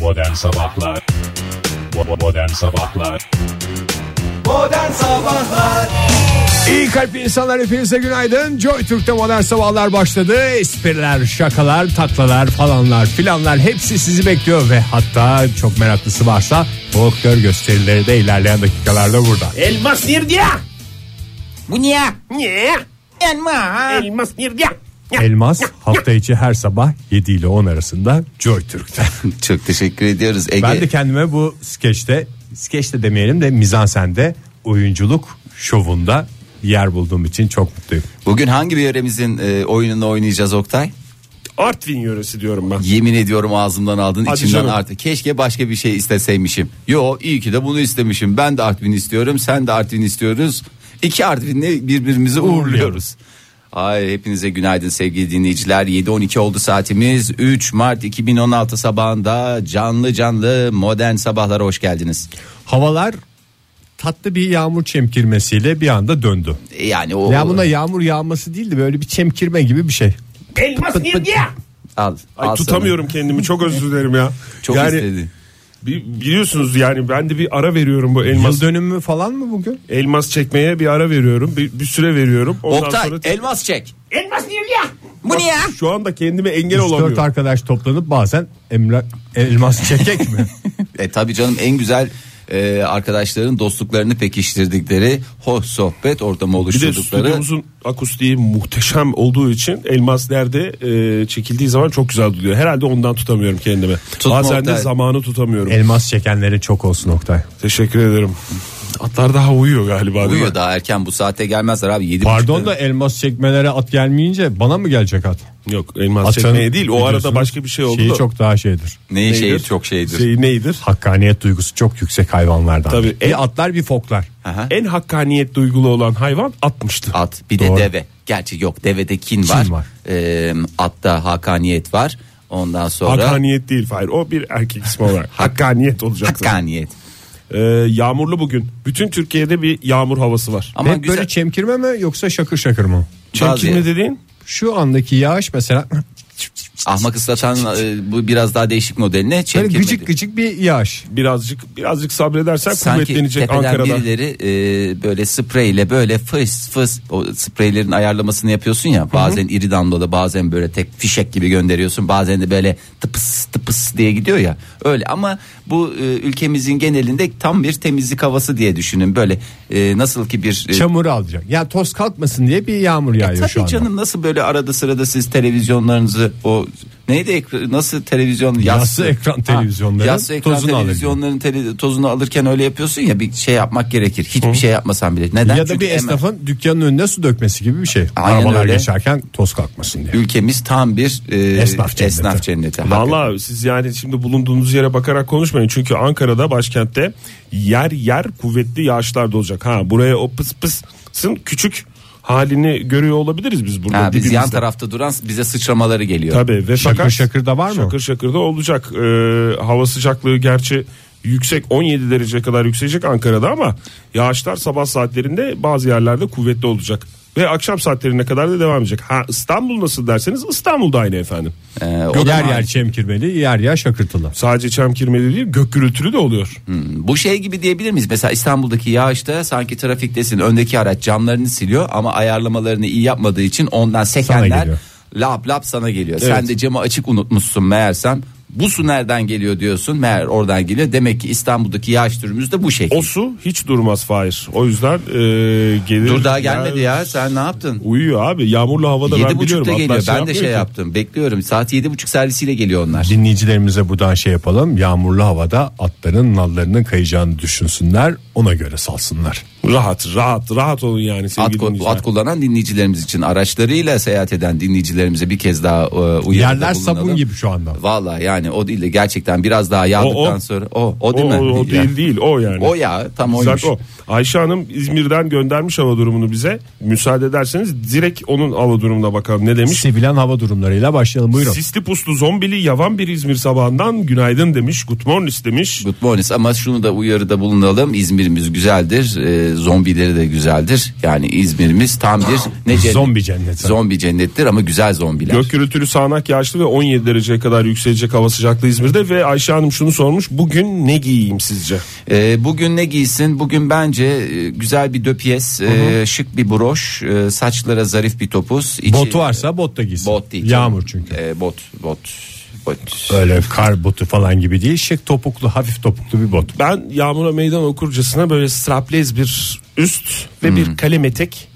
Modern Sabahlar Bo- Modern Sabahlar Modern Sabahlar İyi kalpli insanlar hepinize günaydın. Joy Türk'te modern sabahlar başladı. Espriler, şakalar, taklalar falanlar filanlar hepsi sizi bekliyor ve hatta çok meraklısı varsa folklor gösterileri de ilerleyen dakikalarda burada. Elmas nerede ya? Bu niye? Niye? Ah. Elma. Elmas nerede ya? Ya, Elmas hafta içi her sabah 7 ile 10 arasında Joy Türk'te. Çok teşekkür ediyoruz Ege Ben de kendime bu skeçte, skeçte demeyelim de mizansende oyunculuk şovunda yer bulduğum için çok mutluyum. Bugün hangi bir yöremizin e, oyununu oynayacağız Oktay? Artvin yöresi diyorum ben. Yemin ediyorum ağzımdan aldın Hadi içimden canım. artık. Keşke başka bir şey isteseymişim. Yo iyi ki de bunu istemişim. Ben de Artvin istiyorum sen de Artvin istiyoruz. İki Artvinli birbirimizi uğurluyoruz. Ay hepinize günaydın sevgili dinleyiciler. 7.12 oldu saatimiz. 3 Mart 2016 sabahında canlı canlı modern sabahlara hoş geldiniz. Havalar tatlı bir yağmur çemkirmesiyle bir anda döndü. E, Yani o Ya buna yağmur yağması değil de böyle bir çemkirme gibi bir şey. Elmas nerede ya? al. al Ay sana. tutamıyorum kendimi çok özür dilerim ya. Çok yani, istedi. bi- biliyorsunuz yani ben de bir ara veriyorum bu elmas Yıl dönümü falan mı bugün? elmas çekmeye bir ara veriyorum. Bir, bir süre veriyorum. Ondan Oktay sonra- elmas çek. elmas nerede ya? Bu niye? Şu anda kendime engel 4 olamıyorum. arkadaş toplanıp bazen emlak elmas çekek mi? E tabii canım en güzel e, arkadaşların dostluklarını pekiştirdikleri hoş sohbet ortamı Bir de oluşturdukları. stüdyomuzun akustiği muhteşem olduğu için elmas nerede e, çekildiği zaman çok güzel duyuyor. Herhalde ondan tutamıyorum kendimi. Tutma Bazen de Oktay. zamanı tutamıyorum. elmas çekenlere çok olsun Oktay. Teşekkür ederim. Atlar daha uyuyor galiba. değil mi? Uyuyor daha erken bu saate gelmezler abi. Yedi Pardon buçukta. da elmas çekmelere at gelmeyince bana mı gelecek at? Yok elmas Atın çekmeye değil. O arada biliyorsunuz başka bir şey oldu. Şeyi da. çok daha şeydir. Neyi Neydir? şey çok şeydir. Şey neydir? Hakkaniyet duygusu çok yüksek hayvanlardan. Tabii. Bir atlar bir foklar. Aha. En hakkaniyet duygulu olan hayvan atmıştı. At bir Doğru. de deve. Gerçi yok devede kin var. var. E, atta hakaniyet var. Ondan sonra Hakkaniyet değil Fahir. O bir erkek ismi olarak. hakkaniyet olacak. zaten. hakaniyet. Ee, yağmurlu bugün. Bütün Türkiye'de bir yağmur havası var. Ama Hep güzel. böyle çemkirme mi yoksa şakır şakır mı? bazı- Çemkirme dediğin? Şu andaki yağış mesela ahmak ıslatan e, bu biraz daha değişik modeline böyle çemkirmedi. gıcık gıcık bir yağış. Birazcık birazcık sabredersen Sanki kuvvetlenecek tepeden Ankara'da. birileri e, böyle spreyle böyle fıs fıs o spreylerin ayarlamasını yapıyorsun ya bazen iri damlalı bazen böyle tek fişek gibi gönderiyorsun bazen de böyle tıpıs tıpıs diye gidiyor ya öyle ama bu e, ülkemizin genelinde tam bir temizlik havası diye düşünün böyle e, nasıl ki bir e, Çamuru alacak. Ya toz kalkmasın diye bir E, yağmur yağıyor şu Tabii anda. canım nasıl böyle arada sırada siz televizyonlarınızı o neydi ekra- nasıl televizyon Yassı ekran televizyonları, yassı ekran tozunu alır. televizyonların tele- tozunu alırken öyle yapıyorsun ya bir şey yapmak gerekir. Hiçbir şey yapmasan bile. Neden? Ya da Çünkü bir hemen- esnafın dükkanın önüne su dökmesi gibi bir şey. Aynen Arabalar öyle. geçerken toz kalkmasın diye. ülkemiz tam bir e, Esnaf cenneti. esnaf cenneti. Hakikaten. Valla siz yani şimdi bulunduğunuz yere bakarak konuşmayın. Çünkü Ankara'da başkentte yer yer kuvvetli yağışlar da olacak. Ha buraya o pıs pısın küçük halini görüyor olabiliriz biz burada. Ha, biz yan dibimizde. tarafta duran bize sıçramaları geliyor. Tabii ve Şakır fakat şakır da var mı? Şakır şakır da olacak. Ee, hava sıcaklığı gerçi yüksek 17 derece kadar yükselecek Ankara'da ama yağışlar sabah saatlerinde bazı yerlerde kuvvetli olacak. Ve akşam saatlerine kadar da devam edecek. Ha İstanbul nasıl derseniz İstanbul'da aynı efendim. Ee, o da- yer yer çemkirmeli, yer yer şakırtılı. Sadece çemkirmeli değil gök gürültülü de oluyor. Bu şey gibi diyebilir miyiz? Mesela İstanbul'daki yağışta sanki trafiktesin öndeki araç camlarını siliyor ama ayarlamalarını iyi yapmadığı için ondan sekenler geliyor. lap lap sana geliyor. Evet. Sen de camı açık unutmuşsun meğersem. Bu su nereden geliyor diyorsun. Meğer oradan geliyor. Demek ki İstanbul'daki yağış türümüz de bu şekilde. O su hiç durmaz Fahir. O yüzden e, gelir. Dur daha gelmedi ya. Sen ne yaptın? Uyuyor abi yağmurlu havada ben Yedi biliyorum. buçukta geliyor. Atlas Ben de şey yapmıyor ki. yaptım. Bekliyorum. Saat yedi buçuk servisiyle geliyor onlar. Dinleyicilerimize buradan şey yapalım. Yağmurlu havada atların nallarının kayacağını düşünsünler. Ona göre salsınlar. Rahat rahat rahat olun yani At, sevgili ko- dinleyiciler. at kullanan dinleyicilerimiz için araçlarıyla seyahat eden dinleyicilerimize bir kez daha e, uyarıda Yerler bulunalım. sabun gibi şu anda. Valla yani o değil de gerçekten biraz daha yağdıktan O, o. sonra o o O, değil mi? o, o Yani. değil değil o yani. O ya tam Zaten oymuş. o. Ayşe Hanım İzmir'den göndermiş hava durumunu bize. Müsaade ederseniz direkt onun hava durumuna bakalım ne demiş. Sevilen hava durumlarıyla başlayalım buyurun. Sisli puslu zombili yavan bir İzmir sabahından günaydın demiş. Good morning demiş. Good morning ama şunu da uyarıda bulunalım. İzmir'imiz güzeldir. Ee, zombileri de güzeldir. Yani İzmir'imiz tam bir ne cennet- Zombi cenneti. Zombi cennettir ama güzel zombiler. Gök gürültülü sağanak yağışlı ve 17 dereceye kadar yükselecek hava sıcaklığı İzmir'de ve Ayşe Hanım şunu sormuş bugün ne giyeyim sizce? Ee, bugün ne giysin? Bugün bence e, güzel bir döpiyes, e, şık bir broş, e, saçlara zarif bir topuz. içi- Bot varsa bot da giysin. şey, Bot değil. Yağmur canım. çünkü. Ee, bot, bot, bot. Öyle kar botu falan gibi değil. Şık topuklu hafif topuklu bir bot. Ben yağmura meydan okurcasına böyle straplez bir üst ve bir kalem etek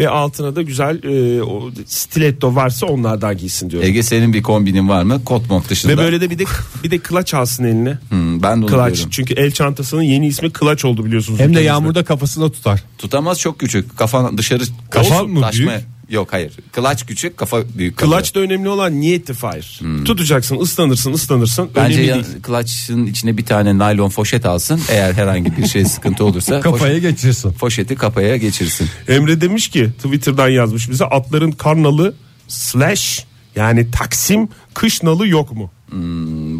ve altına da güzel e, o stiletto varsa onlardan giysin diyorum. Ege senin bir kombinin var mı? Kot mont dışında. ve böyle de bir de bir de kılaç alsın eline. Hmm, ben de onu Kılaç. diyorum. Çünkü el çantasının yeni ismi kılaç oldu biliyorsunuz. Hem de ülkemizde. yağmurda kafasına tutar. Tutamaz çok küçük. Kafan dışarı Kafan Olsun, mı taşma- büyük? Yok hayır. Kılaç küçük, kafa büyük. Kılaç da önemli olan niyetti Fahir. Tutacaksın ıslanırsın ıslanırsın. Hmm. Bence önemli ya- değil. kılaçın içine bir tane naylon foşet alsın. Eğer herhangi bir şey sıkıntı olursa Kafaya foş- geçirsin. foşeti kafaya geçirsin. Emre demiş ki Twitter'dan yazmış bize atların karnalı slash yani Taksim kış nalı yok mu?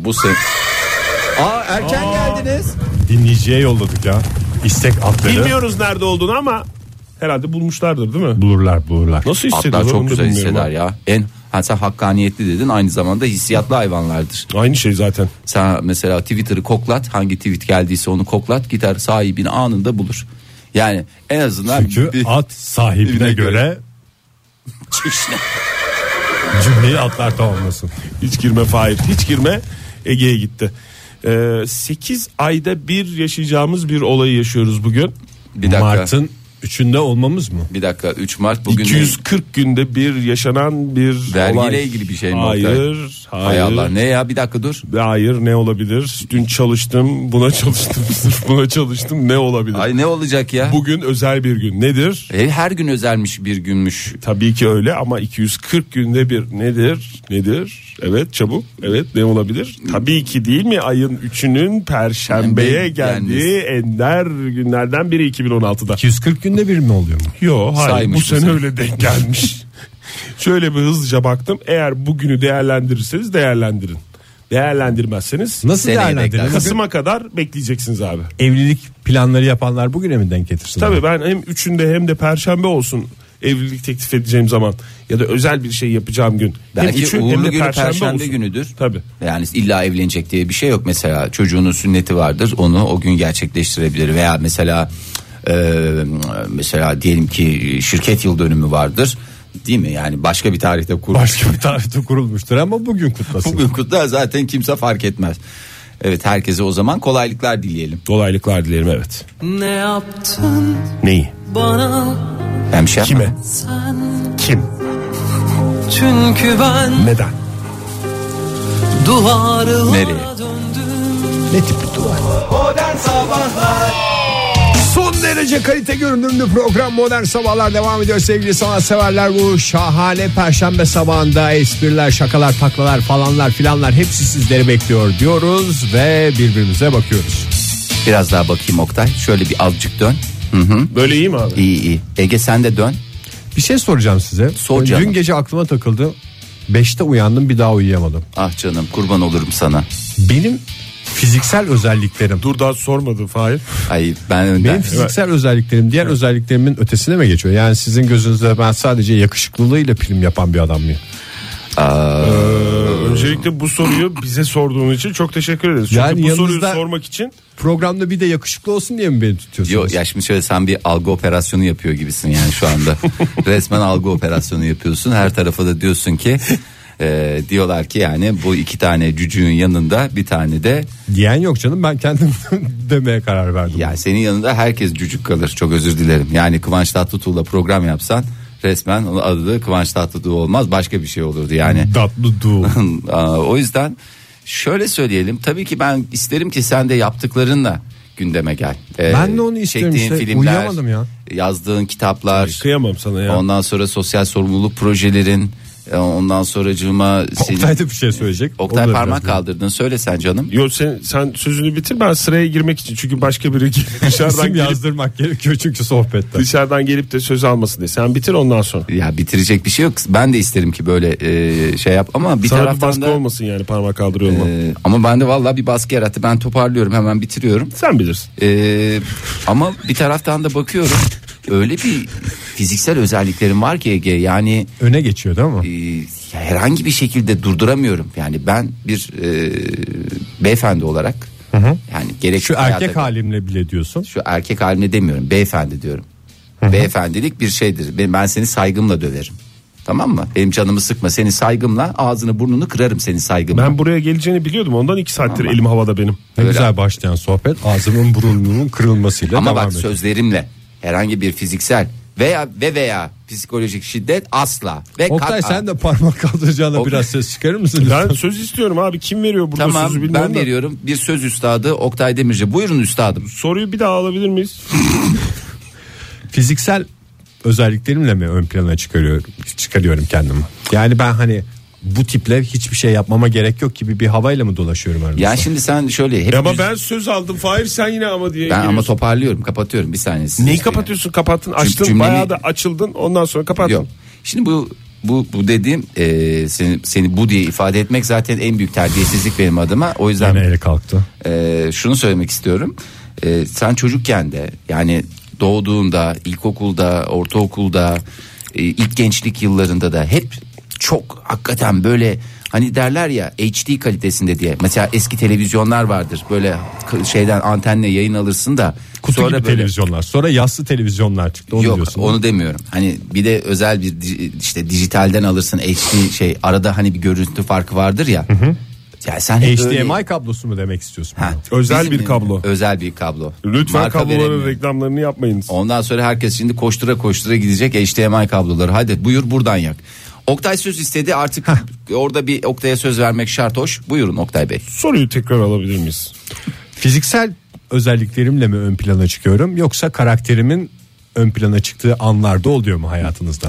Bu se- Aa erken geldiniz. Dinleyiciye yolladık ya. İstek atları. Bilmiyoruz nerede olduğunu ama herhalde bulmuşlardır değil mi? Bulurlar bulurlar. Nasıl Atlar hissediyorlar? onu çok da güzel bilmiyorum hisseder ya. En ha sen hakkaniyetli dedin aynı zamanda hissiyatlı hayvanlardır. ha. Aynı şey zaten. Sen mesela Twitter'ı koklat hangi tweet geldiyse onu koklat gider sahibini anında bulur. Yani en azından Çünkü bir- at sahibine birine göre göre. cümleyi atlar tamamlasın. Hiç girme Fahir hiç girme Ege'ye gitti. 8 ayda bir yaşayacağımız bir olayı yaşıyoruz bugün. bir dakika. Mart'ın 3'ünde olmamız mı? Bir dakika 3 Mart bugün 240 günde bir yaşanan bir Vergiyle olay. ilgili bir şey mi Hayır, Oktay? hayır. Hay Allah ne ya bir dakika dur. Hayır ne olabilir? Dün çalıştım, buna çalıştım, sırf buna çalıştım. Ne olabilir? Ay ne olacak ya? Bugün özel bir gün. Nedir? E, her gün özelmiş bir günmüş. Tabii ki öyle ama 240 günde bir nedir? Nedir? Evet çabuk. Evet ne olabilir? Tabii ki değil mi? Ayın 3'ünün perşembeye Yani geldiği gelmesi. ender günlerden biri 2016'da. 240 günde bir mi oluyor mu? Yo hayır Saymış bu bu sene sene. öyle denk gelmiş. Şöyle bir hızlıca baktım. Eğer bugünü değerlendirirseniz değerlendirin. Değerlendirmezseniz Nasıl Seneye değerlendirir? bekler. Kasım'a kadar bekleyeceksiniz abi. Evlilik planları yapanlar bugüne mi denk getirsinler? Tabii ben hem üçünde hem de perşembe olsun evlilik teklif edeceğim zaman ya da özel bir şey yapacağım gün. Belki hem üçü uğurlu hem de günü perşembe, perşembe olsun. günüdür. Tabii. Yani illa evlenecek diye bir şey yok mesela çocuğunun sünneti vardır onu o gün gerçekleştirebilir veya mesela e, mesela diyelim ki şirket yıl dönümü vardır değil mi yani başka bir tarihte kurulur. Başka bir tarihte kurulmuştur ama bugün kutlasın. Bugün kutlar zaten kimse fark etmez. Evet herkese o zaman kolaylıklar dileyelim. Dolaylıklar dilerim evet. Ne yaptın Neyi? bana Hem şey yapma. Kime? sen? Kim? Çünkü ben Neden? duvarlara Nereye? döndüm. Son derece kalite görünümlü program Modern Sabahlar devam ediyor sevgili sanatseverler. Bu şahane perşembe sabahında espriler, şakalar, taklalar falanlar filanlar hepsi sizleri bekliyor diyoruz ve birbirimize bakıyoruz. Biraz daha bakayım Oktay. Şöyle bir azıcık dön. Böyle iyi mi abi? İyi iyi. Ege sen de dön. Bir şey soracağım size. Sor canım. Dün gece aklıma takıldı. 5'te uyandım bir daha uyuyamadım. Ah canım kurban olurum sana. Benim fiziksel özelliklerim. Dur daha sormadın Fahir. Ay ben Benim önden. fiziksel özelliklerim diğer özelliklerimin ötesine mi geçiyor? Yani sizin gözünüzde ben sadece yakışıklılığıyla prim yapan bir adam mıyım? Öncelikle bu soruyu bize sorduğun için çok teşekkür ederiz. Çünkü Yani bu yanınızda- soruyu sormak için Programda bir de yakışıklı olsun diye mi beni tutuyorsunuz? Yo, ya şimdi şöyle sen bir algı operasyonu yapıyor gibisin yani şu anda. Resmen algı operasyonu yapıyorsun. Her tarafa da diyorsun ki e, diyorlar ki yani bu iki tane cücüğün yanında bir tane de Diyen yok canım ben kendim demeye karar verdim. yani senin yanında herkes cücük kalır. Çok özür dilerim. Yani Kıvanç Tatlıtuğ'la program yapsan resmen onun adı da Kıvanç Tatlıtuğ olmaz başka bir şey olurdu yani. Tatlı du. Aa, o yüzden şöyle söyleyelim. Tabii ki ben isterim ki sen de yaptıklarınla gündeme gel. Ee, Ben de onu istiyorum çektiğin işte. filmler, Uyuyamadım ya. Yazdığın kitaplar. kıyamam sana ya. Ondan sonra sosyal sorumluluk projelerin E, Ondan sonracığıma senin... Oktay da bir şey söyleyecek. Oktay Onu da parmak biraz- kaldırdın söyle sen canım. Yo sen, sen sözünü bitir ben sıraya girmek için çünkü başka biri dışarıdan İsim gelip, yazdırmak gerekiyor çünkü sohbette. dışarıdan gelip de söz almasın diye. Sen bitir ondan sonra. Ya bitirecek bir şey yok. Ben de isterim ki böyle e, şey yap ama bir Sana bir taraftan baskı da olmasın yani parmak kaldırıyor olmam. e, ama bende vallahi bir baskı yarattı. Ben toparlıyorum hemen bitiriyorum. Sen bilirsin. E, ama bir taraftan da bakıyorum. Öyle bir fiziksel özelliklerim var ki Ege yani Öne geçiyordu ama. e, ya herhangi bir şekilde durduramıyorum. Yani ben bir e, beyefendi olarak yani gerek Şu hayata- erkek halimle bile diyorsun. şu erkek haline demiyorum beyefendi diyorum. Beyefendilik bir şeydir. Ben, ben seni saygımla döverim. Tamam mı? Benim canımı sıkma. Seni saygımla ağzını burnunu kırarım seni saygımla. Ben buraya geleceğini biliyordum ondan iki saattir elim havada benim. Ne Öyle. güzel başlayan sohbet ağzımın burnumun kırılmasıyla Ama devam bak ediyor. sözlerimle herhangi bir fiziksel veya ve veya psikolojik şiddet asla. Ve Oktay kat'a. sen de parmak kaldıracağına Oktay- biraz ses çıkarır mısın? Ben söz istiyorum abi kim veriyor burada Tamam sözü bilmiyorum ben da. veriyorum bir söz üstadı Oktay Demirci. Buyurun üstadım. Soruyu bir daha alabilir miyiz? Fiziksel özelliklerimle mi ön plana çıkarıyorum, çıkarıyorum kendimi? Yani ben hani bu tiple hiçbir şey yapmama gerek yok gibi bir havayla mı dolaşıyorum aranızda? Ya şimdi sen şöyle hep ama ben söz aldım Fahir sen yine ama diye ben ama giriyorsun. toparlıyorum kapatıyorum bir saniye. sizi Neyi izleyin. kapatıyorsun kapattın açtın cümlemi- bayağı da açıldın ondan sonra kapattın. Yok. Şimdi bu bu bu dediğim e, seni, seni bu diye ifade etmek zaten en büyük terbiyesizlik benim adıma. O Yine yüzden eli kalktı. e, şunu söylemek istiyorum. E, sen çocukken de yani doğduğunda, ilkokulda, ortaokulda, e, ilk gençlik yıllarında da hep çok hakikaten böyle hani derler ya HD kalitesinde diye. Mesela eski televizyonlar vardır. Böyle k- şeyden antenle yayın alırsın da Kutu sonra gibi böyle- televizyonlar. Sonra yassı televizyonlar çıktı. Onu Yok diyorsun. onu demiyorum. Hani bir de özel bir di- işte dijitalden alırsın HD şey arada hani bir görüntü farkı vardır ya. Ya sen hep HDMI öyle- kablosu mu demek istiyorsun? Ha, bunu? Özel bizim- bir kablo. Özel bir kablo. Lütfen Marka kabloların veremiyorum. reklamlarını yapmayınız. Ondan sonra herkes şimdi koştura koştura gidecek HDMI kabloları. Hadi buyur buradan yak. Oktay söz istedi artık orada bir Oktay'a söz vermek şart hoş. Buyurun Oktay Bey. Soruyu tekrar alabilir miyiz? Fiziksel özelliklerimle mi ön plana çıkıyorum yoksa karakterimin ön plana çıktığı anlarda oluyor mu hayatınızda?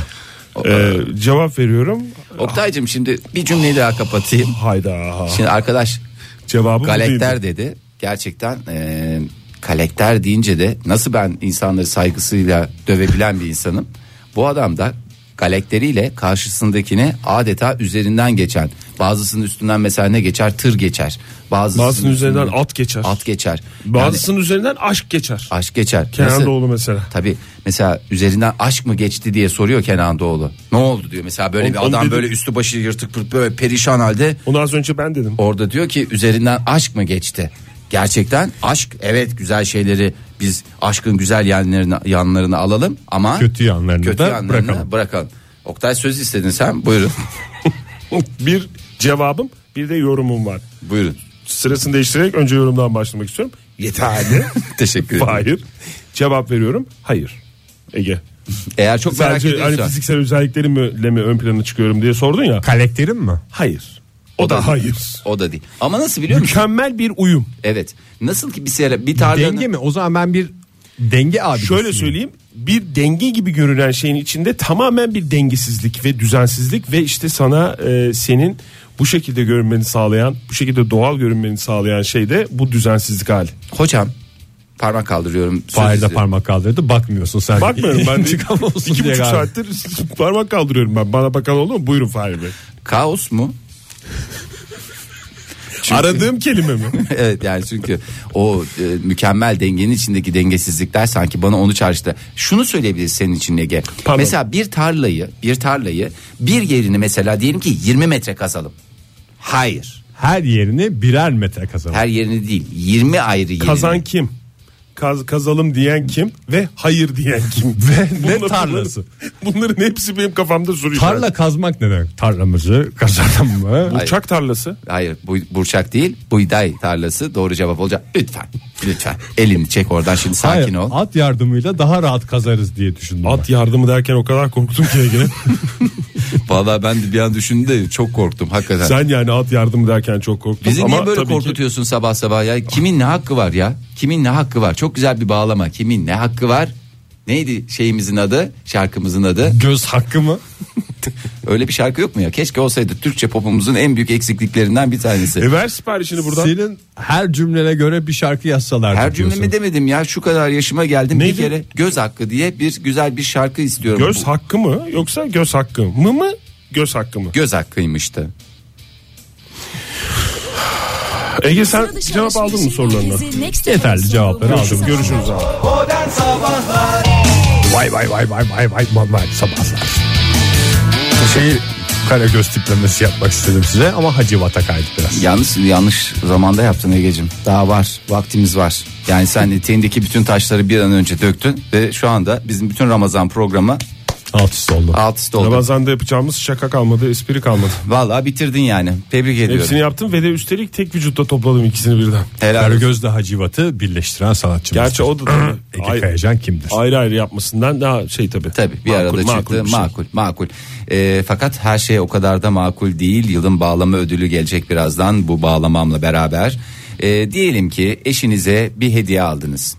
Ee, cevap veriyorum. Oktay'cığım şimdi bir cümleyi daha kapatayım. Hayda. Şimdi arkadaş Cevabı bu Galekter değildi. dedi. Gerçekten e, kalekter deyince de nasıl ben insanları saygısıyla dövebilen bir insanım. Bu adam da galekteriyle karşısındakini adeta üzerinden geçen. Bazısının üstünden mesela ne geçer? Tır geçer. Bazısının, Bazısının üzerinden üstünden at geçer. At geçer. Bazısı Bazısının üzerinden aşk geçer. aşk geçer. Kenan Nasıl- Doğulu mesela. Tabii mesela üzerinden aşk mı geçti diye soruyor Kenan Doğulu. Ne oldu diyor mesela böyle Onu- bir onu adam dedim. böyle üstü başı yırtık pırt böyle perişan halde Onu az önce ben dedim. Orada diyor ki üzerinden aşk mı geçti? Gerçekten aşk evet güzel şeyleri biz aşkın güzel yanlarını yanlarını alalım ama Kötü yanlarını kötü da yanlarını bırakalım. Oktay söz istedin sen buyurun. Bir cevabım bir de yorumum var. buyurun. Sırasını değiştirerek önce yorumdan başlamak istiyorum. Yeterli. Teşekkür ederim. Hayır. Cevap veriyorum. Hayır. Ege. Eğer çok merak Sadece hani ediyorsan fiziksel özelliklerimle mi ön plana çıkıyorum diye sordun ya. Karakterim mi? Hayır. O, da, hayır. o da değil. Ama nasıl biliyor musun? Mükemmel bir uyum. Evet. Nasıl ki bir sere bir tarlanın Denge mi? O zaman ben bir denge abi. Şöyle söyleyeyim bir denge gibi görünen şeyin içinde tamamen bir dengesizlik ve düzensizlik ve işte sana e, senin bu şekilde görünmeni sağlayan bu şekilde doğal görünmeni sağlayan şey de bu düzensizlik hali. hocam parmak kaldırıyorum. söz Fahir de istedim. parmak kaldırdı bakmıyorsun sen. Bakmıyorum ben de İntikam olsun iki diye buçuk galiba. saattir parmak kaldırıyorum ben bana bakan oldu mu buyurun Fahri Bey. Kaos mu? Aradığım kelime mi? evet yani çünkü o e, mükemmel dengenin içindeki dengesizlikler sanki bana onu çağrıştı. Şunu söyleyebiliriz senin için Ege. Pardon. Mesela bir tarlayı, bir tarlayı bir yerini mesela diyelim ki 20 metre kazalım. Hayır. Her yerine birer metre kazanır. Her yerini değil. 20 ayrı yerini. Kazan kim? Kaz, kazalım diyen kim ve hayır diyen kim? Ve ne Bunlar- tarlası? Bunların hepsi benim kafamda soru Tarla kazmak ne demek? Tarlamızı kazanalım mı? Uçak tarlası. Hayır bu burçak değil. Buğday tarlası doğru cevap olacak. Lütfen. Lütfen. Elini çek oradan şimdi sakin Hayır, ol. at yardımıyla daha rahat kazarız diye düşündüm. ben. At yardımı derken o kadar korktum ki Ege'ne. Vallahi ben de bir an düşündüm de çok korktum hakikaten. Sen yani at yardımı derken çok korktun. Bizi ama niye böyle tabii ki korkutuyorsun sabah sabah ya? Kimin ne hakkı var ya? Kimin ne hakkı var? Çok güzel bir bağlama. Kimin ne hakkı var? Neydi şeyimizin adı? Şarkımızın adı. Göz hakkı mı? Öyle bir şarkı yok mu ya? Keşke olsaydı. Türkçe popumuzun en büyük eksikliklerinden bir tanesi. E ver siparişini buradan. Senin her cümlene göre bir şarkı yazsalardı Her diyorsun. cümlemi demedim ya. Şu kadar yaşıma geldim Neydi? bir kere göz hakkı diye bir güzel bir şarkı istiyorum. Göz Bu- hakkı mı yoksa göz hakkı mı mı göz hakkı mı? göz hakkıymıştı. Ege sen cevap aldın mı sorularına? Yeterli cevapları aldım. Görüşürüz abi. Vay vay vay vay vay vay vay vay sabahlar. Şeyi Karagöz tiplemesi yapmak istedim size ama Hacı Vat'a kaydı biraz. Yanlış yanlış zamanda yaptın Ege'cim. Daha var. Vaktimiz var. Yani sen eteğindeki bütün taşları bir an önce döktün ve şu anda bizim bütün Ramazan programı Alt üst oldu. alt üst oldu. Ramazan'da yapacağımız şaka kalmadı, espri kalmadı. Vallahi bitirdin yani. Tebrik ediyorum. Hepsini yaptım ve de üstelik tek vücutta topladım ikisini birden. Helal olsun. Karagöz'le Hacı Vat'ı birleştiren sanatçımız. Gerçi o da Ege Ay- Kayacan kimdir? ayrı ayrı yapmasından daha şey tabii. Tabii bir Makul, arada makul çıktı bir şey. makul makul. Ee, fakat her şey o kadar da makul değil. Yılın bağlama ödülü gelecek birazdan bu bağlamamla beraber. Ee, diyelim ki eşinize bir hediye aldınız.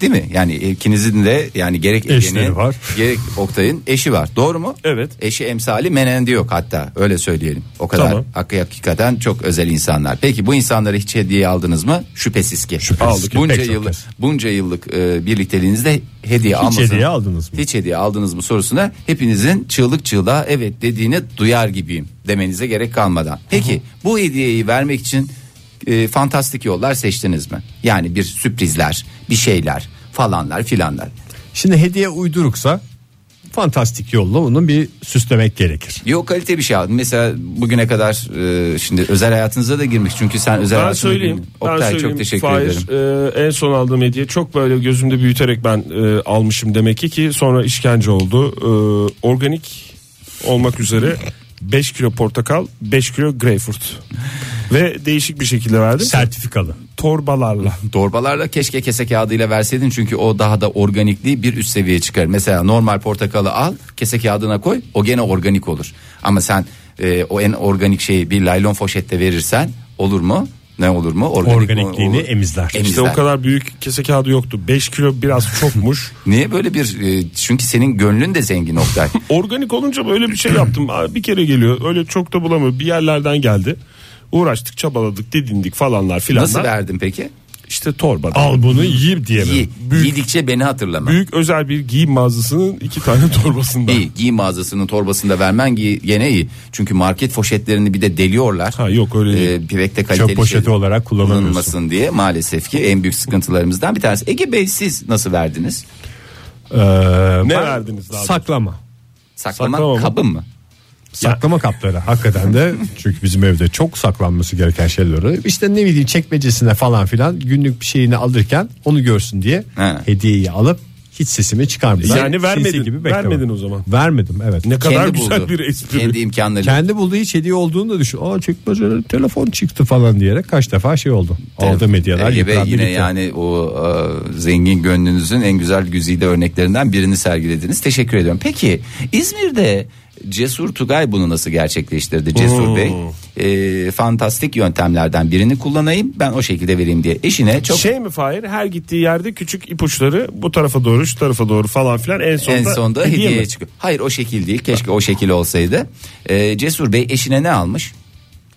Değil mi? Yani ikinizin de yani gerek Eşleri Ege'nin, var. gerek Oktay'ın eşi var. Doğru mu? Evet. Eşi emsali menendi yok hatta öyle söyleyelim. O kadar Tamam. hakik- hakikaten çok özel insanlar. Peki bu insanlara hiç hediye aldınız mı? Şüphesiz ki. Şüphesiz ki. Bunca Pek çok yıllık kez. bunca yıllık e, birlikteliğinizde hediye almasın. hediye aldınız mı? Hiç hediye aldınız mı sorusuna hepinizin çığlık çığlığa evet dediğini duyar gibiyim demenize gerek kalmadan. Peki bu hediyeyi vermek için e, fantastik yollar seçtiniz mi? Yani bir sürprizler, bir şeyler falanlar filanlar. Şimdi hediye uyduruksa fantastik yolla onun bir süslemek gerekir. Yok kalite bir şey aldın. Mesela bugüne kadar e, şimdi özel hayatınıza da girmiş. Çünkü sen özel Ben hayatına söyleyeyim. girmiş. Ben Oktay söyleyeyim. çok teşekkür Fahir, ederim. e, en son aldığım hediye çok böyle gözümde büyüterek ben e, almışım demek ki ki sonra işkence oldu. E, organik olmak üzere 5 kilo portakal, 5 kilo greyfurt. Ve değişik bir şekilde verdim. Sertifikalı. Torbalarla. Torbalarla keşke kese kağıdıyla verseydin çünkü o daha da organikliği bir üst seviyeye çıkar. Mesela normal portakalı al kese kağıdına koy o gene organik olur. Ama sen e, o en organik şeyi bir laylon foşette verirsen olur mu? Ne olur mu? Organik mi? Organikliğini Olur. emizler. İşte İşte Emizler. o kadar büyük kese kağıdı yoktu. 5 kilo biraz çokmuş. Niye böyle bir e, çünkü senin gönlün de zengin Oktay. Organik olunca böyle bir şey yaptım. Aa, Bir kere geliyor. Öyle çok da bulamıyor. Bir yerlerden geldi. Uğraştık, çabaladık, didindik falanlar filanlar. Nasıl verdin peki? İşte torbada. Al bunu yiyip diye mi? Yi, yedikçe beni hatırlama. Büyük özel bir giyim mağazasının iki tane torbasında. İyi giyim mağazasının torbasında vermen gi- gene iyi. Çünkü market poşetlerini bir de deliyorlar. Ha, yok, öyle değil. Ee, pek de kaliteli Çöp poşeti şey olarak kullanamıyorsun. kullanılmasın diye maalesef ki en büyük sıkıntılarımızdan bir tanesi. Ege Bey siz nasıl verdiniz? Ee, ben- verdiniz daha Saklama. Saklama, Saklama mı? kabın mı? Saklama kapları hakikaten de çünkü bizim evde çok saklanması gereken şeyleri işte ne bileyim çekmecesine falan filan günlük bir şeyini alırken onu görsün diye He. hediyeyi alıp hiç sesimi çıkarmadan Yani sinsi vermedin, bekleme. vermedin o zaman. Vermedim evet. Ne kadar güzel buldu. bir espri. Kendi imkanları. Kendi bulduğu hiç hediye olduğunu da düşün. Aa çekmecede telefon çıktı falan diyerek kaç defa şey oldu. Aldığım hediyeler Ege Bey yıprandı yine gitti. yani o e, zengin gönlünüzün en güzel güzide örneklerinden birini sergilediniz. Teşekkür ediyorum. Peki İzmir'de Cesur Tugay bunu nasıl gerçekleştirdi Cesur Bey? e, fantastik yöntemlerden birini kullanayım ben o şekilde vereyim diye. Eşine çok Şey mi Fahir her gittiği yerde küçük ipuçları bu tarafa doğru şu tarafa doğru falan filan en sonda, en sonda hediye hediyeye mi? çıkıyor. Hayır o şekil değil keşke o şekil olsaydı. E, Cesur Bey eşine ne almış?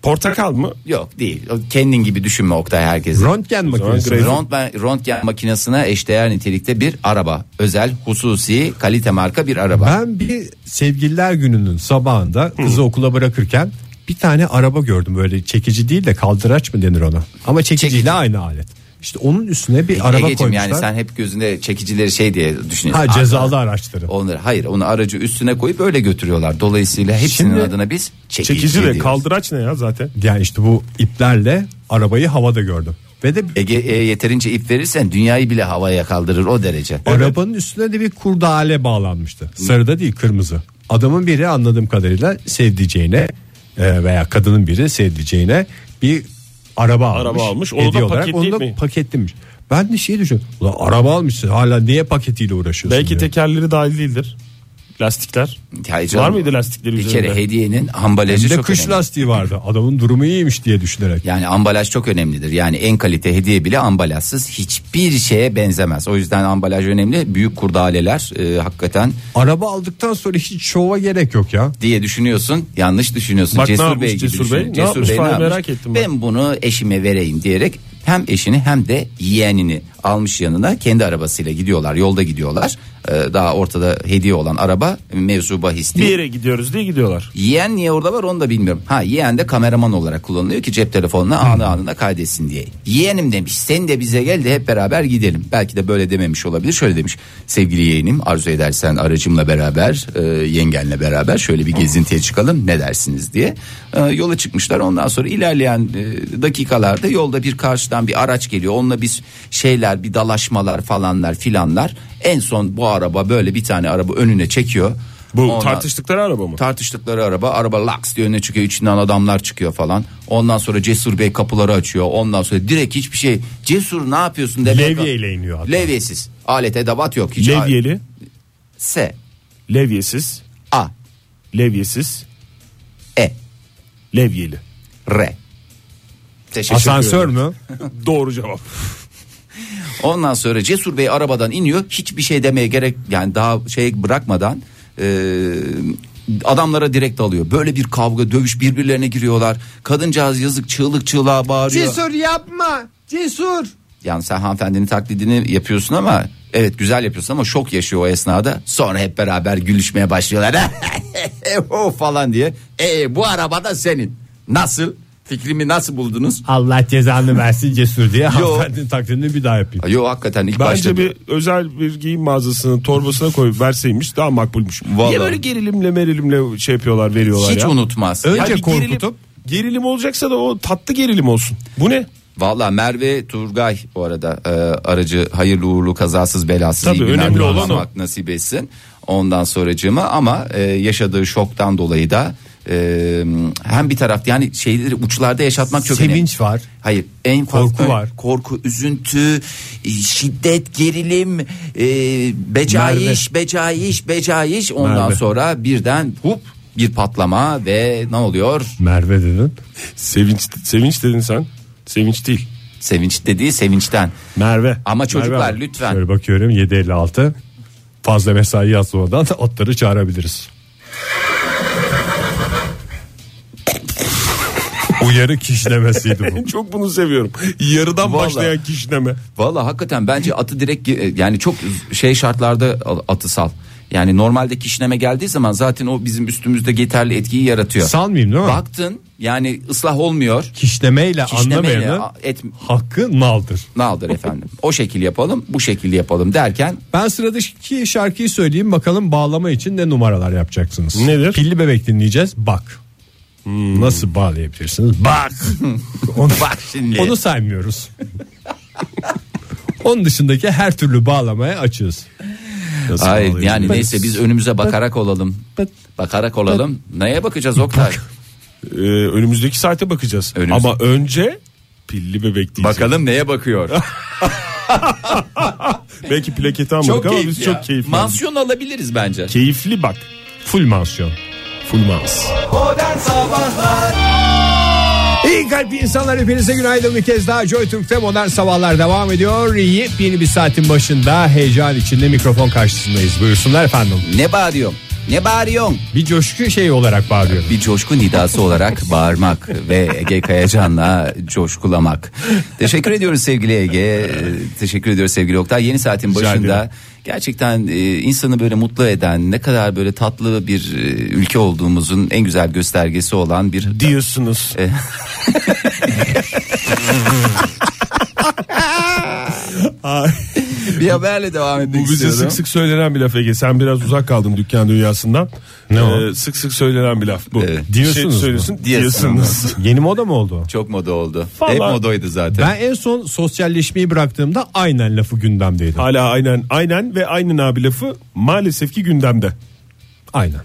Portakal mı? Yok değil O kendin gibi düşünme Oktay herkesi. Röntgen makinesi. grey- Röntgen, röntgen makinesine eşdeğer nitelikte bir araba. Özel, hususi, kalite marka bir araba. Ben bir sevgililer gününün sabahında kızı okula bırakırken bir tane araba gördüm böyle çekici değil de kaldıraç mı denir ona ama çekiciyle Çekici. aynı alet. İşte onun üstüne bir araba Egeciğim, koymuşlar. yani sen hep gözünde çekicileri şey diye düşünüyorsun. Ha cezalı Arkadan- araçları. Onları hayır onu aracı üstüne koyup öyle götürüyorlar. Dolayısıyla hepsinin Şimdi- adına biz çekici, Çekici de diyoruz. kaldıraç ne ya zaten? Yani işte bu iplerle arabayı havada gördüm. Ve de Ege e, yeterince ip verirsen dünyayı bile havaya kaldırır o derece. arabanın üstüne de bir kurdale bağlanmıştı. Sarıda değil kırmızı. Adamın biri anladığım kadarıyla sevdiceğine e, veya kadının biri sevdiceğine bir araba almış. Araba almış. Onu da Hediye olarak paketleyip onu da mi? paketlemiş. Ben de şey düşündüm. Ulan araba almışsın hala niye paketiyle uğraşıyorsun? Belki diyor. tekerleri dahil değildir. Lastikler. Ya canım, Var mıydı lastikleri Bir üzerinde? kere hediyenin ambalajı Bir de çok kış önemli. lastiği vardı. Adamın durumu iyiymiş diye düşünerek. Yani ambalaj çok önemlidir. Yani en kalite hediye bile ambalajsız hiçbir şeye benzemez. O yüzden ambalaj önemli. Büyük kurdaleler e, hakikaten Araba aldıktan sonra hiç şova gerek yok ya. diye düşünüyorsun. Yanlış düşünüyorsun. Bak ne Cesur yapmış Bey gibi Cesur Bey? düşünüyorsun. Ne yapmış? Vallahi merak ettim ben. ben. bunu eşime vereyim diyerek hem eşini hem de yeğenini almış yanına kendi arabasıyla gidiyorlar. Yolda gidiyorlar. Ee, daha ortada hediye olan araba mevzu bahis Bir değil. yere gidiyoruz diye gidiyorlar. Yeğen niye orada var onu da bilmiyorum. Ha yeğen de kameraman olarak kullanılıyor ki cep telefonuna anı anına kaydetsin diye. Yeğenim demiş sen de bize gel de hep beraber gidelim. Belki de böyle dememiş olabilir. Şöyle demiş sevgili yeğenim arzu edersen aracımla beraber e, yengenle beraber şöyle bir gezintiye çıkalım ne dersiniz diye. E, yola çıkmışlar ondan sonra ilerleyen e, dakikalarda yolda bir karşıdan bir araç geliyor. Onunla bir şeyler bir dalaşmalar falanlar filanlar. En son bu araba böyle bir tane araba önüne çekiyor. Bu Ondan- tartıştıkları araba mı? Tartıştıkları araba araba laks diye önüne çıkıyor içinden adamlar çıkıyor falan. Ondan sonra Cesur Bey kapıları açıyor. Ondan sonra direkt hiçbir şey Cesur ne yapıyorsun demek. Levyeyle iniyor adam. Levyesiz. Alet edevat yok. Hiç Levyeli, S. levyesiz, A. levyesiz, E. levyeli. R. Teşekkür Asansör mü? Doğru cevap. Ondan sonra Cesur Bey arabadan iniyor. Hiçbir şey demeye gerek yani daha şey bırakmadan e, adamlara direkt alıyor. Böyle bir kavga dövüş birbirlerine giriyorlar. Kadıncağız yazık çığlık çığlığa bağırıyor. Cesur yapma Cesur. Yani sen hanımefendinin taklidini yapıyorsun ama evet güzel yapıyorsun ama şok yaşıyor o esnada. Sonra hep beraber gülüşmeye başlıyorlar. o falan diye. E bu araba da senin. Nasıl? Fikrimi nasıl buldunuz? Allah cezanı versin cesur diye hanımefendinin taklidini bir daha yapayım. Yo hakikaten ilk başta Bence bir özel bir giyim mağazasının torbasına koyup verseymiş daha makbulmuş. Vallahi. Niye böyle gerilimle merilimle şey yapıyorlar veriyorlar hiç ya? unutmaz. Önce Hayır, bir korkutup- Gerilim, gerilim olacaksa da o tatlı gerilim olsun. Bu ne? Valla Merve Turgay bu arada e, aracı hayırlı uğurlu kazasız belasız Tabii, iyi günler önemli olan kullanmak nasip etsin. Ondan sonracığıma ama e, yaşadığı şoktan dolayı da e, hem bir tarafta yani şeyleri uçlarda yaşatmak çok önemli. Sevinç var. Hayır en fazla Korku var. Korku, üzüntü, e, şiddet, gerilim, e, becaiş, becaiş, becaiş. Ondan Merve. sonra birden hup bir patlama ve ne oluyor? Merve dedin. Sevinç, sevinç dedin sen. Sevinç değil. Sevinç dediği sevinçten. Merve. Ama çocuklar Hanım. lütfen Şöyle bakıyorum 7.56 fazla mesai yazmadan da atları çağırabiliriz. Uyarı kişilemesiydi bu. Çok bunu seviyorum. Yarıdan Vallahi. başlayan kişneme. Valla hakikaten bence atı direkt ge- yani çok şey şartlarda al- atı sal. Yani normalde kişneme geldiği zaman zaten o bizim üstümüzde yeterli etkiyi yaratıyor. Sanmayayım değil mi? Baktın yani ıslah olmuyor. Kişlemeyle, Kişnemeyle anlamayanı a- et hakkı naldır. naldır efendim. O şekil yapalım, bu şekil yapalım derken Ben sıradaki şarkıyı söyleyeyim bakalım bağlama için ne numaralar yapacaksınız. Nedir? Pilli bebek dinleyeceğiz. Bak. Hmm. Nasıl bağlayabilirsiniz? Bak. Onu, bak şimdi. onu saymıyoruz. Onun dışındaki her türlü bağlamaya açığız. Nasıl Ay, bağlayabiliriz? yani neyse biz önümüze bakarak olalım. Bak. Bakarak olalım. Neye bakacağız Oktay? Ee, önümüzdeki saate bakacağız. Önümüz- Ama önce pilli bebek diyeceğiz. Bakalım neye bakıyor? Belki plaketi almadık ama biz çok keyifli. Mansiyon alabiliriz bence. Keyifli bak. Full mansiyon. Full mouse. İyi kalp insanlar hepinize günaydın bir kez daha Joy Türk'te modern sabahlar devam ediyor. Yepyeni bir saatin başında heyecan içinde mikrofon karşısındayız. Buyursunlar efendim. Ne bağırıyorsun? Ne bağırıyorsun? Bir coşku şey olarak bağırıyorum. bir coşku nidası olarak bağırmak ve Ege Kayacan'la coşkulamak. Teşekkür ediyoruz sevgili Ege. Ee, Teşekkür ediyoruz sevgili Oktay. Yeni saatin başında gerçekten e, insanı böyle mutlu eden ne kadar böyle tatlı bir e, ülke olduğumuzun en güzel göstergesi olan bir Diyorsunuz. bir haberle devam etmek Bu bize istiyorum. sık sık söylenen bir laf Ege. Sen biraz uzak kaldın dükkan dünyasından. Ee, Ne o? Sık sık söylenen bir laf bu. Evet. Diyorsunuz mu? Şey söylüyorsun, Diyorsunuz. diyorsunuz. Yeni moda mı oldu? Çok moda oldu. Vallahi- Hep modaydı zaten. Ben en son sosyalleşmeyi bıraktığımda aynen lafı gündemdeydi. Hala aynen aynen ve aynen abi lafı maalesef ki gündemde. Aynen.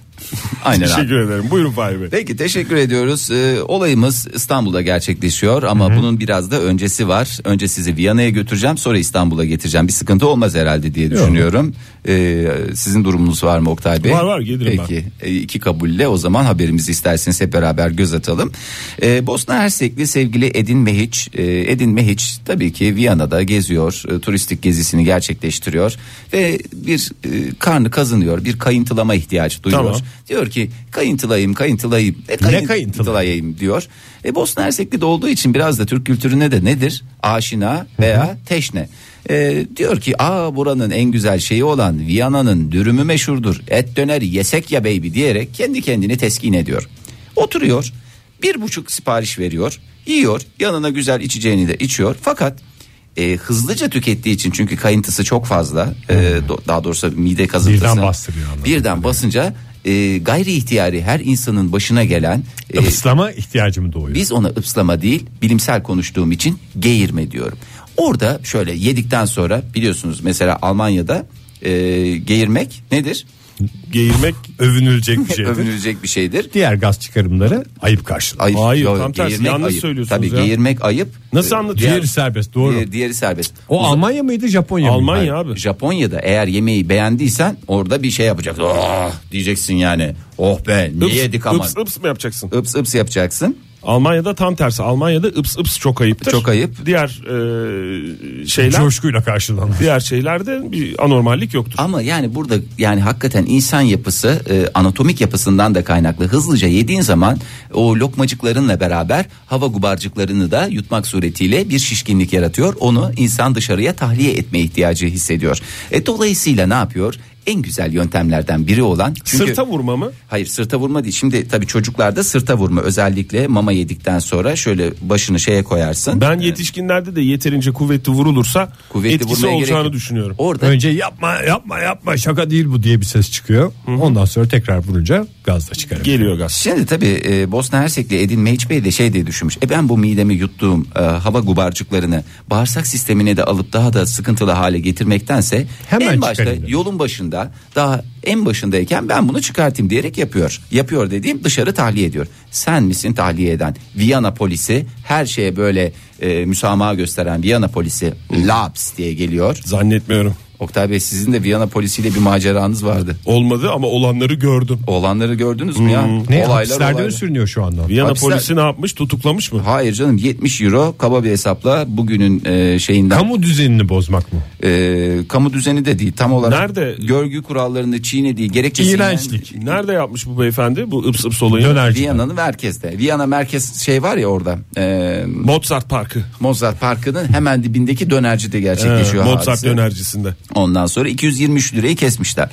Aynen abi. Teşekkür ederim. Buyurun Fahri Bey. Peki teşekkür ediyoruz. Ee, olayımız İstanbul'da gerçekleşiyor ama bunun biraz da öncesi var. Önce sizi Viyana'ya götüreceğim sonra İstanbul'a getireceğim. Bir sıkıntı olmaz herhalde diye düşünüyorum. Ee, sizin durumunuz var mı Oktay Bey? Var, var, gelirim ben. Peki e, iki kabulle o zaman haberimizi isterseniz hep beraber göz atalım. Ee, Bosna Hersekli sevgili Edin Mehiç. Ee, Edin Mehiç tabii ki Viyana'da geziyor. e, turistik gezisini gerçekleştiriyor. Ve bir e, karnı kazınıyor. Bir kayıntılama ihtiyacı duyuyor. Tamam. Diyor ki kayıntılayım kayıntılayım. E, Ne kayıntılı? kayıntılayım diyor. E, Bosna Hersekli de olduğu için biraz da Türk kültürüne de nedir? Aşina veya teşne. E, diyor ki aa buranın en güzel şeyi olan Viyana'nın dürümü meşhurdur. Et döner yesek ya baby diyerek kendi kendini teskin ediyor. Oturuyor bir buçuk sipariş veriyor. Yiyor yanına güzel içeceğini de içiyor. Fakat e, hızlıca tükettiği için çünkü kayıntısı çok fazla e, do- daha doğrusu mide kazıntısına Birden bastırıyor anladım. birden basınca e, gayri ihtiyari her insanın başına gelen e, Islama ihtiyacım doğuyor. biz ona ıpslama değil bilimsel konuştuğum için geğirme diyorum. Orada şöyle yedikten sonra biliyorsunuz mesela Almanya'da e, geğirmek nedir? Geğirmek Övünülecek bir şey. Övünülecek bir şeydir. Diğer gaz çıkarımları ayıp karşılanıyor. Ayıp, Hayır, yo, tam tersi, geğirmek yanlış ayıp. söylüyorsunuz Tabii ya. geğirmek ayıp. Nasıl Ee, anlatıyor? Diğeri serbest doğru. Diğer- diğeri serbest. o Almanya mıydı Japonya mıydı? Almanya abi. Japonya'da eğer yemeği beğendiysen orada bir şey yapacaksın. Oh, diyeceksin yani. Oh be niye Ips, yedik ama. Ips, ips mı yapacaksın? Ips ips yapacaksın. Almanya'da tam tersi. Almanya'da ıps ıps çok ayıptır. Çok ayıp. Diğer e, şeyler Coşkuyla karşılanıyor. diğer şeylerde bir anormallik yoktur. Ama yani burada yani hakikaten insan yapısı e, anatomik yapısından da kaynaklı. Hızlıca yediğin zaman o lokmacıklarınla beraber hava gubarcıklarını da yutmak suretiyle bir şişkinlik yaratıyor. Onu insan dışarıya tahliye etme ihtiyacı hissediyor. E, dolayısıyla ne yapıyor? En güzel yöntemlerden biri olan çünkü- Sırta vurma mı? Hayır sırta vurma değil. Şimdi tabii çocuklarda sırta vurma özellikle mama yedikten sonra şöyle başını şeye koyarsın. Ben yetişkinlerde de yeterince kuvvetli vurulursa Kuvvetli etkisi vurmaya gerek olacağını yok. düşünüyorum. Orada Önce yapma yapma yapma şaka değil bu diye bir ses çıkıyor. Ondan sonra tekrar vurunca gaz da çıkarıyor. Geliyor gaz. Şimdi tabii e, Bosna Hersekli Edin Meyç Bey de şey diye düşünmüş. E ben bu midemi yuttuğum e, hava gubarcıklarını bağırsak sistemine de alıp daha da sıkıntılı hale getirmektense Hemen en başta çıkarayım demiş. yolun başında daha en başındayken ben bunu çıkartayım diyerek yapıyor. Yapıyor dediğim dışarı tahliye ediyor. Sen misin tahliye eden? Viyana polisi her şeye böyle e, müsamaha gösteren Viyana polisi laps diye geliyor. Zannetmiyorum. Oktay Bey sizin de Viyana polisiyle bir maceranız vardı. Olmadı ama olanları gördüm. Olanları gördünüz mü ya? Hmm. Ne Olaylar hapislerde olaylar. mi sürünüyor şu anda? Viyana Hapisler- polisi ne yapmış? Tutuklamış mı? Hayır canım 70 euro kaba bir hesapla bugünün e, şeyinden kamu, Kamu düzenini bozmak mı? kamu düzeni de değil tam olarak Nerede? görgü kurallarını çiğnediği gerekçesiyle İğrençlik. Nerede yapmış bu beyefendi bu ıps ıps olayı? Dönerci. Viyana'nın merkezde. Viyana merkez şey var ya orada. E, Mozart Parkı. Mozart Parkı'nın hemen dibindeki dönercide gerçekleşiyor Ee, Mozart hadise. dönercisinde. Ondan sonra 223 lirayı kesmişler.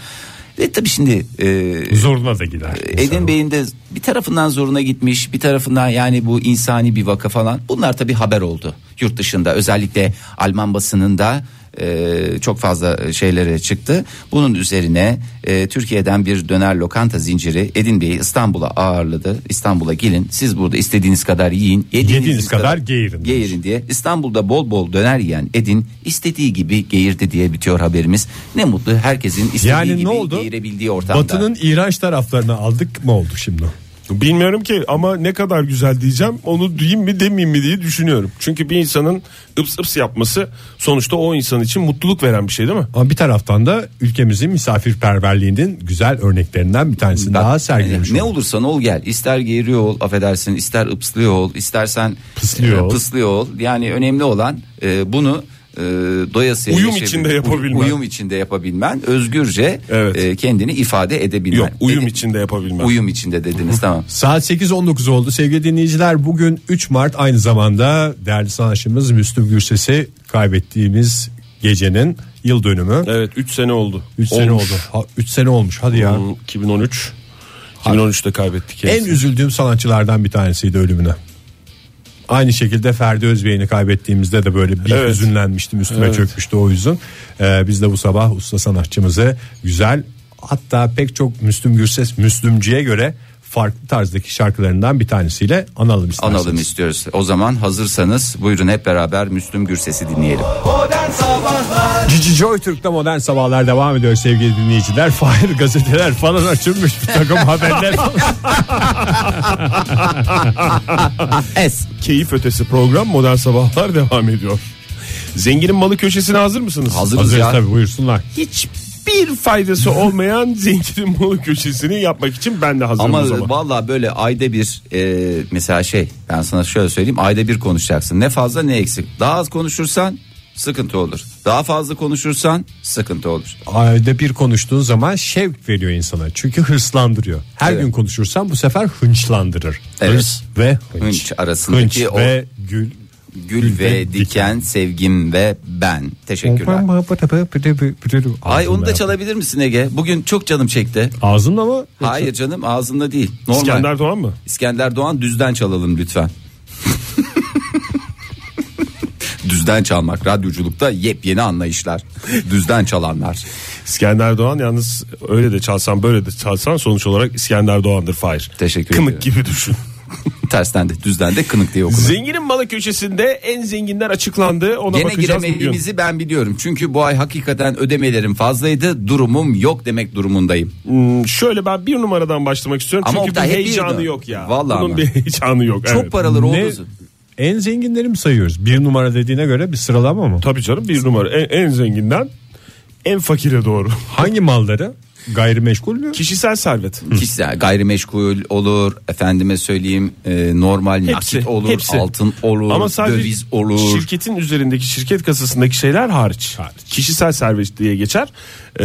Ve tabii şimdi e, Zoruna da gider. Edin Bey'in de bir tarafından zoruna gitmiş bir tarafından yani bu insani bir vaka falan bunlar tabi haber oldu yurt dışında özellikle Alman basınında e, çok fazla şeylere çıktı. Bunun üzerine e, Türkiye'den bir döner lokanta zinciri Edin Bey'i İstanbul'a ağırladı. İstanbul'a gelin siz burada istediğiniz kadar yiyin. Yediğiniz kadar geğirin. Geğirin diye. İstanbul'da bol bol döner yiyen Edin istediği gibi geğirdi diye bitiyor haberimiz. Ne mutlu herkesin istediği Yani ne gibi oldu? geğirebildiği ortamda. Batı'nın iğrenç taraflarını aldık mı oldu şimdi? Bilmiyorum ki ama ne kadar güzel diyeceğim onu diyeyim mi demeyeyim mi diye düşünüyorum. Çünkü bir insanın ıps ıps yapması sonuçta o insan için mutluluk veren bir şey değil mi? Ama bir taraftan da ülkemizin misafirperverliğinin güzel örneklerinden bir tanesini Bak, daha sergilemiş. Ne olduk. olursan ol gel. İster geriyor ol affedersin ister ıpslıyor ol istersen e, Pıslıyor ol. pıslıyor ol. Yani önemli olan e, bunu e, doyasıya Uyum yaşayabil- içinde yapabilmen. Uyum içinde yapabilmen. Özgürce Evet. e, kendini ifade edebilmen. Yok uyum Dedi- içinde yapabilmem. e, Uyum içinde dediniz tamam. Saat 8.19 oldu sevgili dinleyiciler. Bugün 3 Mart aynı zamanda değerli sanatçımız Müslüm Gürses'i kaybettiğimiz gecenin yıl dönümü. Evet 3 sene oldu. 3 sene Olmuş. oldu. 3 sene olmuş hadi ya. Hmm, 2013. 2013'te kaybettik. En kendisini. üzüldüğüm sanatçılardan bir tanesiydi ölümüne. Aynı şekilde Ferdi Özbey'ini kaybettiğimizde de böyle bir Evet. hüzünlenmiştim üstüme Evet. çökmüştü o yüzden. biz de bu sabah usta sanatçımızı güzel hatta pek çok Müslüm Gürses Müslümcüye göre farklı tarzdaki şarkılarından bir tanesiyle analım isterseniz. Analım istiyoruz. O zaman hazırsanız buyurun hep beraber Müslüm Gürses'i dinleyelim. Cici Joy Türk'te modern sabahlar devam ediyor sevgili dinleyiciler. Fahir gazeteler falan açılmış bir takım haberler. Es. Keyif ötesi program modern sabahlar devam ediyor. Zenginin malı köşesine hazır mısınız? Hazırız Hazır ya. tabii buyursunlar. Hiçbir faydası olmayan zenginin malı köşesini yapmak için ben de hazırım o Ama zaman. valla böyle ayda bir e, mesela şey ben sana şöyle söyleyeyim ayda bir konuşacaksın. Ne fazla ne eksik. Daha az konuşursan sıkıntı olur. Daha fazla konuşursan sıkıntı olur. Ayda bir konuştuğun zaman şevk veriyor insana. Çünkü hırslandırıyor. Her Evet. gün konuşursan bu sefer hınçlandırır. Evet. Hırs ve hınç. Hınç arasındaki Hınç o- ve gül. Gül ve diken sevgim ve ben. Teşekkürler. Ay onu da çalabilir misin Ege? Bugün çok canım çekti. Ağzımla mı? Hayır canım ağzında değil. Normal. İskender Doğan mı? İskender Doğan düzden çalalım lütfen. düzden çalmak radyoculukta yepyeni anlayışlar. Düzden çalanlar. İskender Doğan yalnız öyle de çalsan böyle de çalsan sonuç olarak İskender Doğan'dır Fahir. Teşekkür Kımık ediyorum. gibi düşün. Tersten de düzden de kınık diye okunur. Zenginin malı köşesinde en zenginler açıklandı. Ona Gene bakacağız bugün. giremediğimizi ben biliyorum. Çünkü bu ay hakikaten ödemelerim fazlaydı. Durumum yok demek durumundayım. Hmm, şöyle ben bir numaradan başlamak istiyorum. Ama çünkü bir Oktay hep heyecanı birdi. yok ya. Vallahi Bunun ama. bir heyecanı yok. Çok evet. paraları Ne? oldu. En zenginleri mi sayıyoruz? Bir numara dediğine göre bir sıralama mı? Tabii canım bir numara. En, en zenginden en fakire doğru. Hangi malları? Gayrimeşgul mü? Kişisel servet. Kişisel gayrimeşgul olur efendime söyleyeyim e, normal nakit olur hepsi. altın olur Ama sadece döviz olur şirketin üzerindeki şirket kasasındaki şeyler hariç. Kişisel servet diye geçer. Ee,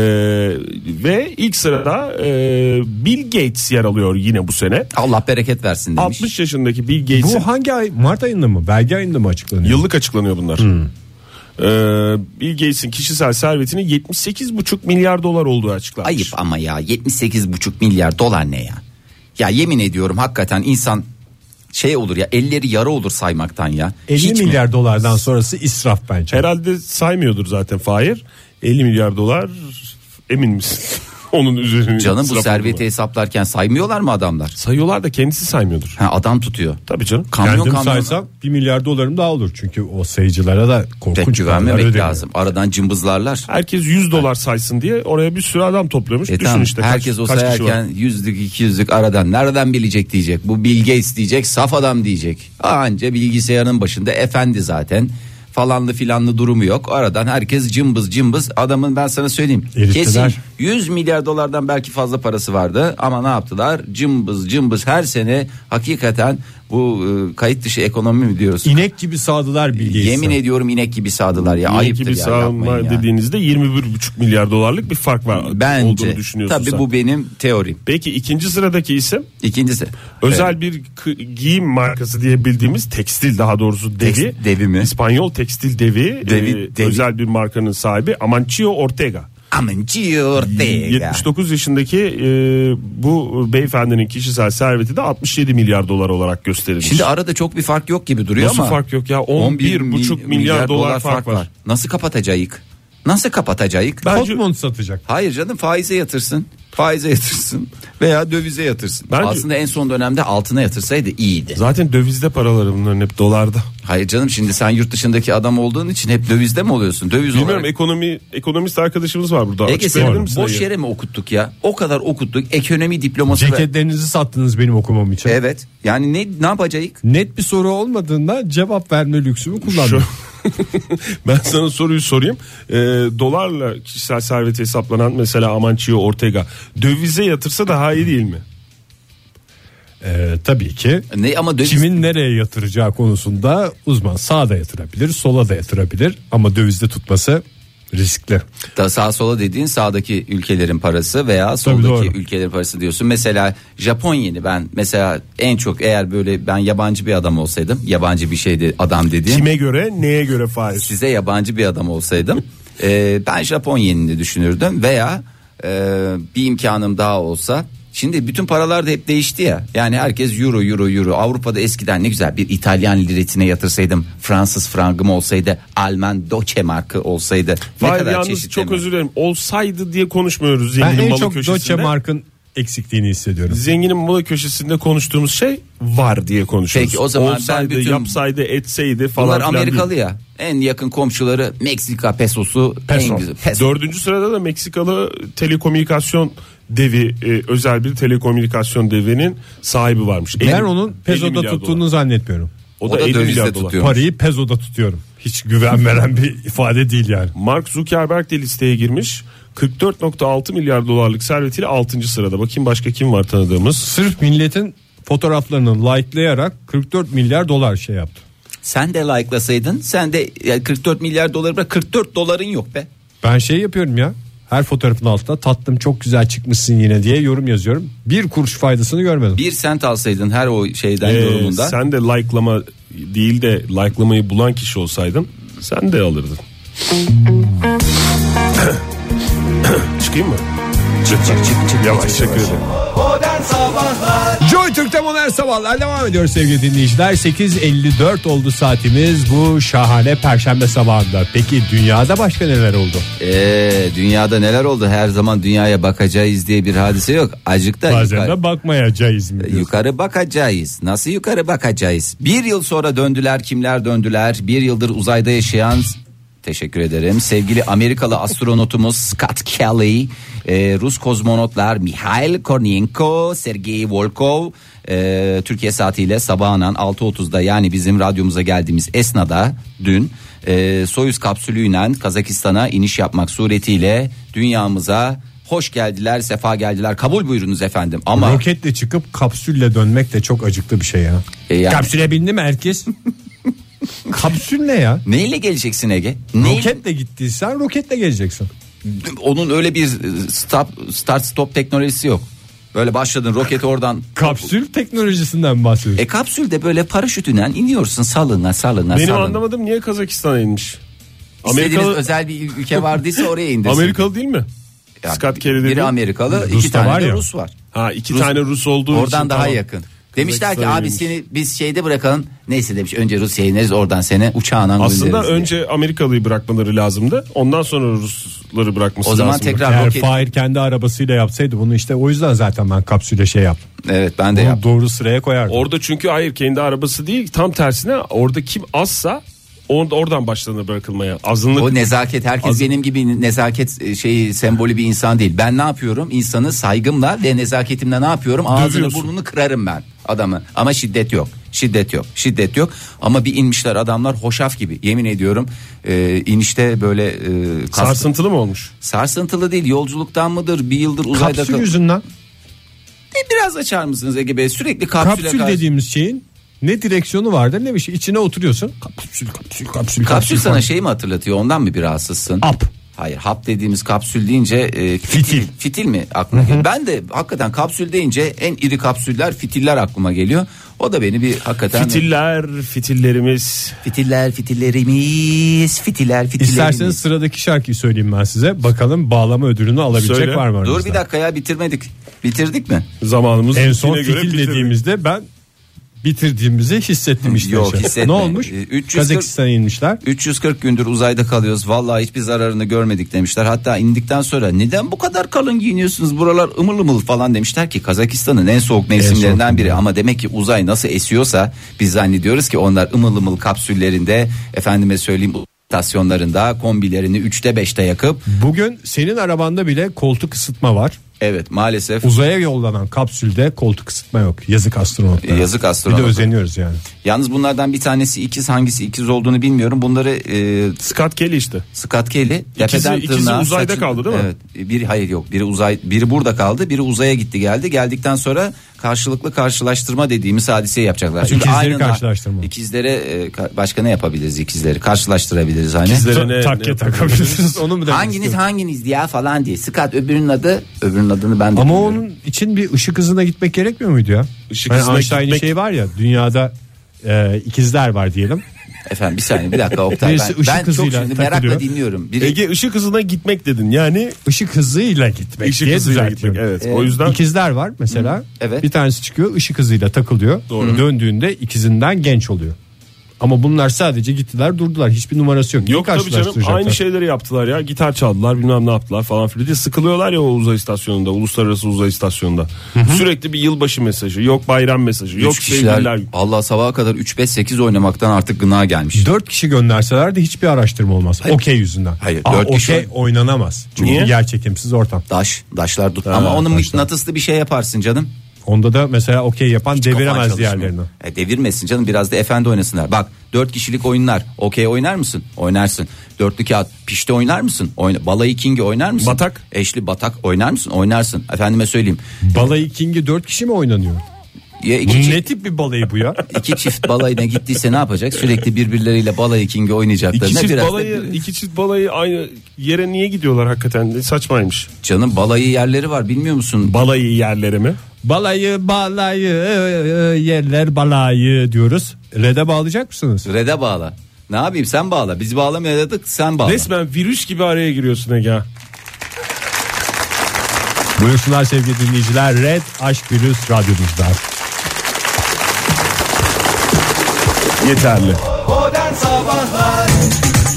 ve ilk sırada e, Bill Gates yer alıyor yine bu sene. Allah bereket versin demiş. 60 yaşındaki Bill Gates'in Bu hangi ay? Mart ayında mı? Belge ayında mı açıklanıyor? Yıllık açıklanıyor bunlar. Hmm. Ee, Bill Gates'in kişisel servetinin 78,5 milyar dolar olduğu açıklanmış. Ayıp ama ya 78,5 milyar dolar ne ya? Ya yemin ediyorum hakikaten insan şey olur ya elleri yara olur saymaktan ya. 50 Hiç mi? milyar dolardan sonrası israf bence. Herhalde saymıyordur zaten Fahir. 50 milyar dolar emin misin? Onun üzerine. Canım bu israf serveti olmalı. hesaplarken saymıyorlar mı adamlar? sayıyorlar da kendisi saymıyordur. Ha, adam tutuyor. Tabii canım. Kamyon Kendim kamyon. saysam 1 milyar dolarım daha olur. Çünkü o sayıcılara da Pek korkunç paralar güvenmemek ödeniyor. lazım. Aradan cımbızlarlar. Herkes 100 dolar saysın diye oraya bir sürü adam topluyormuş. E Düşün tamam, işte kaç- herkes o kaç kişi var. sayarken yüzlük iki yüzlük aradan nereden bilecek diyecek. Bu Bill Gates diyecek saf adam diyecek. Anca bilgisayarın başında efendi zaten falanlı filanlı durumu yok. Aradan herkes cımbız cımbız adamın ben sana söyleyeyim. Erittiler. Kesin 100 milyar dolardan belki fazla parası vardı ama ne yaptılar? Cımbız cımbız her sene hakikaten bu e, kayıt dışı ekonomi mi diyoruz? İnek gibi sağdılar bilgiyi. Yemin ediyorum inek gibi sağdılar ya. İyi Ayıptır gibi ya, sağma yapmayın ya. dediğinizde 21,5 milyar dolarlık bir fark var Bence. olduğunu düşünüyorsun Tabii sen. bu benim teorim. Peki ikinci sıradaki isim İkincisi. Özel bir kı- giyim markası diye bildiğimiz tekstil daha doğrusu devi. Tekst- devi mi? İspanyol tekstil devi. Devi, e, devi. Özel bir markanın sahibi Amancio Ortega. Amancio Ortega. 79 yaşındaki e, bu beyefendinin kişisel serveti de 67 milyar dolar olarak gösterilmiş. Şimdi arada çok bir fark yok gibi duruyor Nasıl ama. fark yok ya? 11,5 milyar, dolar, fark var. Nasıl kapatacağız? Nasıl kapatacağız? Bence- Totmont satacak. Hayır canım faize yatırsın. Faize yatırsın veya dövize yatırsın. Bence- Aslında en son dönemde altına yatırsaydı iyiydi. Zaten dövizde paraları bunların hep dolarda. Hayır canım şimdi sen yurt dışındaki adam olduğun için hep dövizde mi oluyorsun? Döviz Bilmiyorum olarak. ekonomi ekonomist arkadaşımız var burada. Ege Açıklayabilir seni misin boş Ege? yere mi okuttuk ya? O kadar okuttuk. Ekonomi diploması ve- Ceketlerinizi sattınız benim okumam için. Evet. Yani ne ne yapacağız? Net bir soru olmadığında cevap verme lüksümü kullandım. ben sana soruyu sorayım. Ee, dolarla kişisel serveti hesaplanan mesela Amancio Ortega dövize yatırsa daha iyi değil mi? Ee, tabii ki. Ne ama döviz Kimin nereye yatıracağı konusunda uzman sağa da yatırabilir, sola da yatırabilir ama dövizde tutması riskli. Da sağ sola dediğin sağdaki ülkelerin parası veya Tabii soldaki doğru. ülkelerin parası diyorsun. Mesela Japon yeni ben mesela en çok eğer böyle ben yabancı bir adam olsaydım yabancı bir şeydi adam dediğim Kime göre neye göre faiz? size yabancı bir adam olsaydım e, ben Japon yenini düşünürdüm veya e, bir imkanım daha olsa Şimdi bütün paralar da hep değişti ya. Yani herkes euro euro euro. Avrupa'da eskiden ne güzel bir İtalyan liretine yatırsaydım, Fransız frangım olsaydı, Alman Deutsche markı olsaydı. Ne Fahir kadar yalnız çeşitli çok mi? özür dilerim. Olsaydı diye konuşmuyoruz Ben zenginin en malı çok köşesinde. Deutsche Mark'ın eksikliğini hissediyorum. Zenginin moda köşesinde konuştuğumuz şey var diye konuşuyoruz. Peki, o zaman ben Olsaydı, bütün- yapsaydı, etseydi falan Bunlar filan Amerikalı değil. ya. En yakın komşuları Meksika pesosu en güzel. Peso. Dördüncü sırada da Meksikalı telekomünikasyon devi, e, özel bir telekomünikasyon devinin sahibi varmış. Ben Elli- onun 50 pezoda milyar tuttuğunu dolar. zannetmiyorum. o O da, da 50 dövizle milyar dolar. tutuyor. Parayı pezoda tutuyorum. Hiç güven veren bir ifade değil yani. Mark Zuckerberg de listeye girmiş. 44.6 milyar dolarlık servetiyle 6. sırada. Bakayım başka kim var tanıdığımız. Sırf milletin fotoğraflarını likelayarak 44 milyar dolar şey yaptı. Sen de like'lasaydın sen de yani 44 milyar doları bırak 44 doların yok be. Ben şey yapıyorum ya. Her fotoğrafın altına tatlım çok güzel çıkmışsın yine diye yorum yazıyorum. Bir kuruş faydasını görmedim. Bir sent alsaydın her o şeyden Ee, yorumunda. sen de like'lama değil de like'lamayı bulan kişi olsaydın sen de alırdın. Çıkayım mı? Çık çık çık. Yavaş çık. Joy Türk'te modern sabahlar devam ediyor sevgili dinleyiciler. 8.54 oldu saatimiz bu şahane perşembe sabahında. Peki dünyada başka neler oldu? Ee, dünyada neler oldu her zaman dünyaya bakacağız diye bir hadise yok. Acık da Bazen yukarı, E, de bakmayacağız mı? diyorsun? yukarı bakacağız. Nasıl yukarı bakacağız? Bir yıl sonra döndüler kimler döndüler? Bir yıldır uzayda yaşayan teşekkür ederim. Sevgili Amerikalı astronotumuz Scott Kelly, e, Rus kozmonotlar Mihail Kornienko, Sergey Volkov e, Türkiye saatiyle sabahın 6.30'da yani bizim radyomuza geldiğimiz esnada dün e, Soyuz kapsülüyle Kazakistan'a iniş yapmak suretiyle dünyamıza hoş geldiler, sefa geldiler. Kabul buyurunuz efendim. Ama Roketle çıkıp kapsülle dönmek de çok acıklı bir şey ya. E yani- Kapsüle bindi mi herkes? Kapsül ne ya? Neyle geleceksin Ege? Neyle- Roketle gittiysen roketle geleceksin. Onun öyle bir e, stop, start stop teknolojisi yok. Böyle başladın roket oradan. Kapsül teknolojisinden bahsediyorsun. E kapsülde böyle paraşütünden iniyorsun salına salına Benim salına. anlamadım niye Kazakistan'a inmiş? İstediğiniz Amerikalı özel bir ülke vardıysa oraya indirsin. Amerikalı değil mi? Yani Scott Kelly dedi. Biri Amerikalı Rus da iki tane var de ya. Rus var. Ha iki Rus- tane Rus olduğu için. Oradan daha tamam. yakın. Demişler ki Kazakistan'a abi inmiş. seni biz şeyde bırakalım. Neyse demiş önce Rusya'ya ineriz oradan seni uçağına Aslında göndeririz diye. önce Amerikalı'yı bırakmaları lazımdı. Ondan sonra Rusları bırakması O zaman lazımdı. tekrar- Eğer roket- Fahir kendi arabasıyla yapsaydı bunu işte o yüzden zaten ben kapsüle şey yaptım. Evet ben de Bunu yaptım. doğru sıraya koyardım. Orada çünkü hayır kendi arabası değil tam tersine orada kim azsa or- oradan başlanır bırakılmaya. Azınlık O nezaket herkes benim gibi nezaket e, şeyi sembolü bir insan değil. Ben ne yapıyorum? İnsanı saygımla ve nezaketimle ne yapıyorum? Ağzını Dövüyorsun. burnunu kırarım ben adamı. Ama şiddet yok. Şiddet yok. Şiddet yok. Ama bir inmişler adamlar hoşaf gibi. Yemin ediyorum. E, inişte böyle e, kas- sarsıntılı mı olmuş? sarsıntılı değil. Yolculuktan mıdır? Bir yıldır uzayda kapsül kal- yüzünden. E, biraz açar mısınız Ege Bey? Sürekli kapsüle Kapsül karşı- dediğimiz şeyin ne direksiyonu vardır ne bir şey. İçine oturuyorsun. Kapsül kapsül kapsül. Kapsül sana şey mi hatırlatıyor? Ondan mı bir rahatsızsın? Hap. Hayır hap dediğimiz kapsül deyince e, fitil. Fitil. fitil. mi aklına geliyor? Ben de hakikaten kapsül deyince en iri kapsüller fitiller aklıma geliyor. O da beni bir hakikaten Fitiller, fitillerimiz. fitiller fitillerimiz fitiller fitillerimiz. İsterseniz sıradaki şarkıyı söyleyeyim ben size. Bakalım bağlama ödülünü alabilecek Söyle. var mı? Dur aranızda? bir dakika ya bitirmedik. Bitirdik mi? Zamanımız En son bittiğine göre fitil bitirdik. dediğimizde ben bitirdiğimizi hissettim işte. Yok, Şey. hissetme. Ne olmuş? Ee, 340 Kazakistan'a inmişler. 340 gündür uzayda kalıyoruz. Vallahi hiçbir zararını görmedik demişler. Hatta indikten sonra neden bu kadar kalın giyiniyorsunuz? Buralar ımıl ımıl falan demişler ki Kazakistan'ın en soğuk mevsimlerinden soğuk. biri. Ama demek ki uzay nasıl esiyorsa biz zannediyoruz ki onlar ımıl ımıl kapsüllerinde efendime söyleyeyim stasyonlarında kombilerini 3'te 5'te yakıp Bugün senin arabanda bile koltuk ısıtma var. evet maalesef Uzaya yollanan kapsülde koltuk ısıtma yok. Yazık astronotlara. Yazık Bir de astronotlara. özeniyoruz yani. yalnız bunlardan bir tanesi ikiz hangisi ikiz olduğunu bilmiyorum. Bunları e, Scott Kelly işte. Scott Kelly tepeden ikisi tırnağa uzayda kaldı değil mi? Evet. Biri hayır yok. Biri uzay biri burada kaldı. Biri uzaya gitti geldi. Geldikten sonra karşılıklı karşılaştırma dediğimiz hadiseyi yapacaklar. ikizleri aynı- karşılaştırma. İkizlere e, ka- başka ne yapabiliriz ikizleri? Karşılaştırabiliriz hani. İkizlere ne- Takke ne- takabilirsiniz onu mu demek Hanginiz istiyorsun? hanginiz diye falan diye. Scott öbürünün adı öbürünün adını ben de Ama bilmiyorum. onun için bir ışık hızına gitmek gerekmiyor muydu ya? Işık hani hızına Einstein'in gitmek- şey var ya dünyada e, ikizler var diyelim. Efendim bir saniye bir dakika Oktay. Birisi ben ışık ben çok hızıyla şimdi merakla takılıyor. dinliyorum. Biri Ege ışık hızına gitmek dedin yani Işık hızıyla gitmek ışık diye hızıyla düzeltiyorum. gitmek. Evet. o yüzden İkizler var mesela. E, evet. Bir tanesi çıkıyor ışık hızıyla takılıyor. Döndüğünde ikizinden genç oluyor. Ama bunlar sadece gittiler durdular. Hiçbir numarası yok. Neyi Yok tabii canım karşılaştıracaklar? aynı şey- şeyleri yaptılar ya. Gitar çaldılar bilmem ne yaptılar falan filan. Bir de sıkılıyorlar ya o uzay istasyonunda. Uluslararası uzay istasyonunda. Sürekli bir yılbaşı mesajı. Yok bayram mesajı. Yok Üç kişiler sevgililer. Allah sabaha kadar 3-5-8 oynamaktan artık gına gelmiş. Dört kişi gönderseler de hiçbir araştırma olmaz. Okey yüzünden. Hayır, Aa, dört kişi- Okey oynanamaz. Çünkü Niye? yer çekimsiz ortam. Daş, daşlar tut. Ama onun mıknatıslı bir şey yaparsın canım. Onda da mesela okey yapan Kafan deviremez çalışmıyor. diğerlerini. E, devirmesin canım biraz da efendi oynasınlar. Bak dört kişilik oyunlar. Okey oynar mısın? Oynarsın. Dörtlü kağıt pişti oynar mısın? Oyna. Balayı kingi oynar mısın? Batak. Eşli batak oynar mısın? Oynarsın. Efendime söyleyeyim. Balayı King'i dört kişi mi oynanıyor? Ya iki, çi- Ne tip bir balayı bu ya? iki çift balayına gittiyse ne yapacak? Sürekli birbirleriyle balayı kingi oynayacaklar. İki Ne çift, biraz da- balayı, iki çift balayı aynı yere niye gidiyorlar hakikaten? Saçmaymış. Canım balayı yerleri var bilmiyor musun? Balayı yerlere mi? balayı balayı yerler balayı diyoruz. Red'e bağlayacak mısınız? Rede bağla. Ne yapayım sen bağla. Biz bağlamayadık sen bağla. Resmen virüs gibi araya giriyorsun Ege. Buyursunlar sevgili dinleyiciler. Red Aşk Virüs radyomuzda. Yeterli.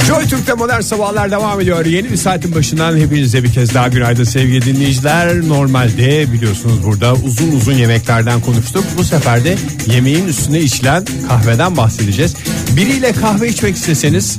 Joy Türk'te modern sabahlar devam ediyor. Yeni bir saatin başından hepinize bir kez daha günaydın sevgili dinleyiciler. Normalde biliyorsunuz burada uzun uzun yemeklerden konuştuk. Bu sefer de yemeğin üstüne içilen kahveden bahsedeceğiz. Biriyle kahve içmek isteseniz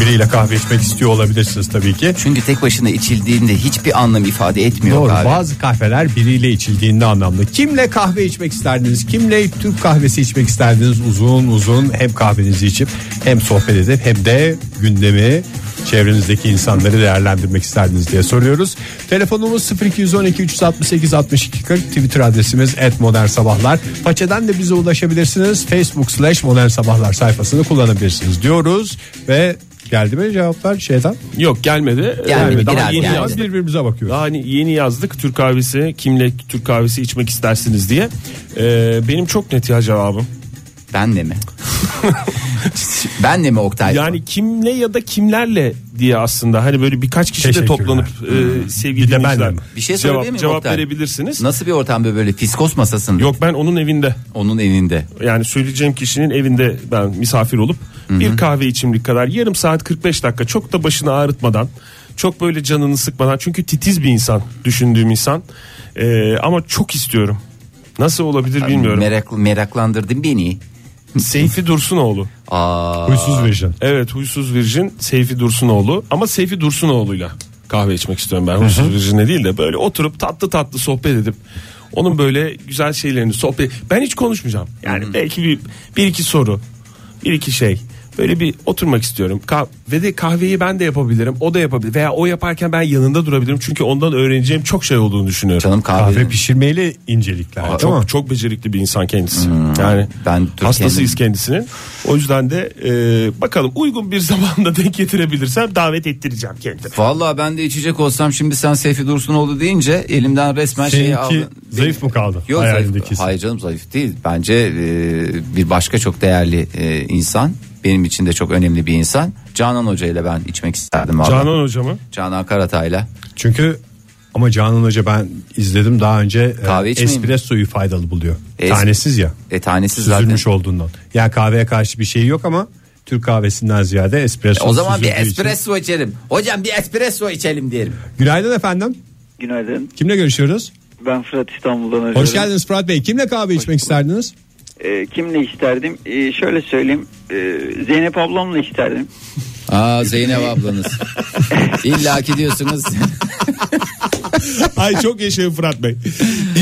biriyle kahve içmek istiyor olabilirsiniz tabii ki. Çünkü tek başına içildiğinde hiçbir anlam ifade etmiyor Doğru abi. bazı kahveler biriyle içildiğinde anlamlı. Kimle kahve içmek isterdiniz? Kimle Türk kahvesi içmek isterdiniz? Uzun uzun hem kahvenizi içip hem sohbet edip hem de gündemi çevrenizdeki insanları değerlendirmek isterdiniz diye soruyoruz. Telefonumuz 0212 368 62 40 Twitter adresimiz @modernsabahlar. sabahlar. Façeden de bize ulaşabilirsiniz. Facebook slash modern sabahlar sayfasını kullanabilirsiniz diyoruz ve geldi mi cevaplar şeyden? Yok gelmedi. Ee, Gelmedi, daha biraz yeni geldi. yaz- Biz birbirimize bakıyoruz. Daha hani yeni yazdık Türk kahvesi kimle Türk kahvesi içmek istersiniz diye. Ee, benim çok net ya cevabım. Benle mi? Benle mi Oktay? Yani kimle ya da kimlerle diye aslında hani böyle birkaç kişi de Teşekkürler. Hmm. toplanıp e, sevgili Bir de ben dinleyiciler mi? bir şey cevap, sorabilir miyim cevap Oktay? verebilirsiniz. Nasıl bir ortamda böyle fiskos masasında? Yok ben onun evinde Onun evinde. yani söyleyeceğim kişinin evinde ben misafir olup bir kahve içimlik kadar yarım saat 45 dakika çok da başını ağrıtmadan çok böyle canını sıkmadan çünkü titiz bir insan düşündüğüm insan Ee, ama çok istiyorum. Nasıl olabilir bilmiyorum. Merak, meraklandırdın beni. Seyfi Dursunoğlu. Aa, Huysuz version. Evet huysuz virjin Seyfi Dursunoğlu ama Seyfi Dursunoğlu'yla kahve içmek istiyorum ben huysuz virjinle değil de böyle oturup tatlı tatlı sohbet edip onun böyle güzel şeylerini sohbet ben hiç konuşmayacağım yani belki bir, bir iki soru bir iki şey böyle bir oturmak istiyorum Kah- ve de kahveyi ben de yapabilirim o da yapabilir veya o yaparken ben yanında durabilirim çünkü ondan öğreneceğim çok şey olduğunu düşünüyorum. canım kahve. Kahve pişirmeyle incelikler değil çok mi? çok becerikli bir insan kendisi. Hmm, Yani Ben ben Türk hastasıyız kendisinin. O yüzden de e, bakalım uygun bir zamanda denk getirebilirsem davet ettireceğim kendimi. Vallahi ben de içecek olsam şimdi sen Seyfi Dursunoğlu deyince elimden resmen şeyi Seninki aldın. şey zayıf mı kaldı? şey Yok Hayalindeki. zayıf. Hayır canım zayıf değil. Bence e, bir başka çok değerli e, insan. Benim için de çok önemli bir insan. Canan Hoca ile ben içmek isterdim. vallahi. Canan hocamı Canan Karatay'la. Çünkü ama Canan Hoca ben izledim daha önce Kahve e, içmeyin. espressoyu faydalı buluyor. Es- Tanesiz ya. E tanesi zaten. Süzülmüş olduğundan. Yani kahveye karşı bir şey yok ama Türk kahvesinden ziyade espresso. O zaman bir süzüldüğü için. espresso içelim. Hocam bir espresso içelim diyelim. Günaydın efendim. Günaydın. Kimle görüşüyoruz? Ben Fırat İstanbul'dan Ee, arıyorum. Hoş geldiniz Fırat Bey. Kimle kahve içmek isterdiniz? Ee, kimle isterdim? Ee, şöyle söyleyeyim. Ee, Zeynep ablamla isterdim. Aa Zeynep ablanız. İlla ki diyorsunuz. Ay çok yaşayın Fırat Bey.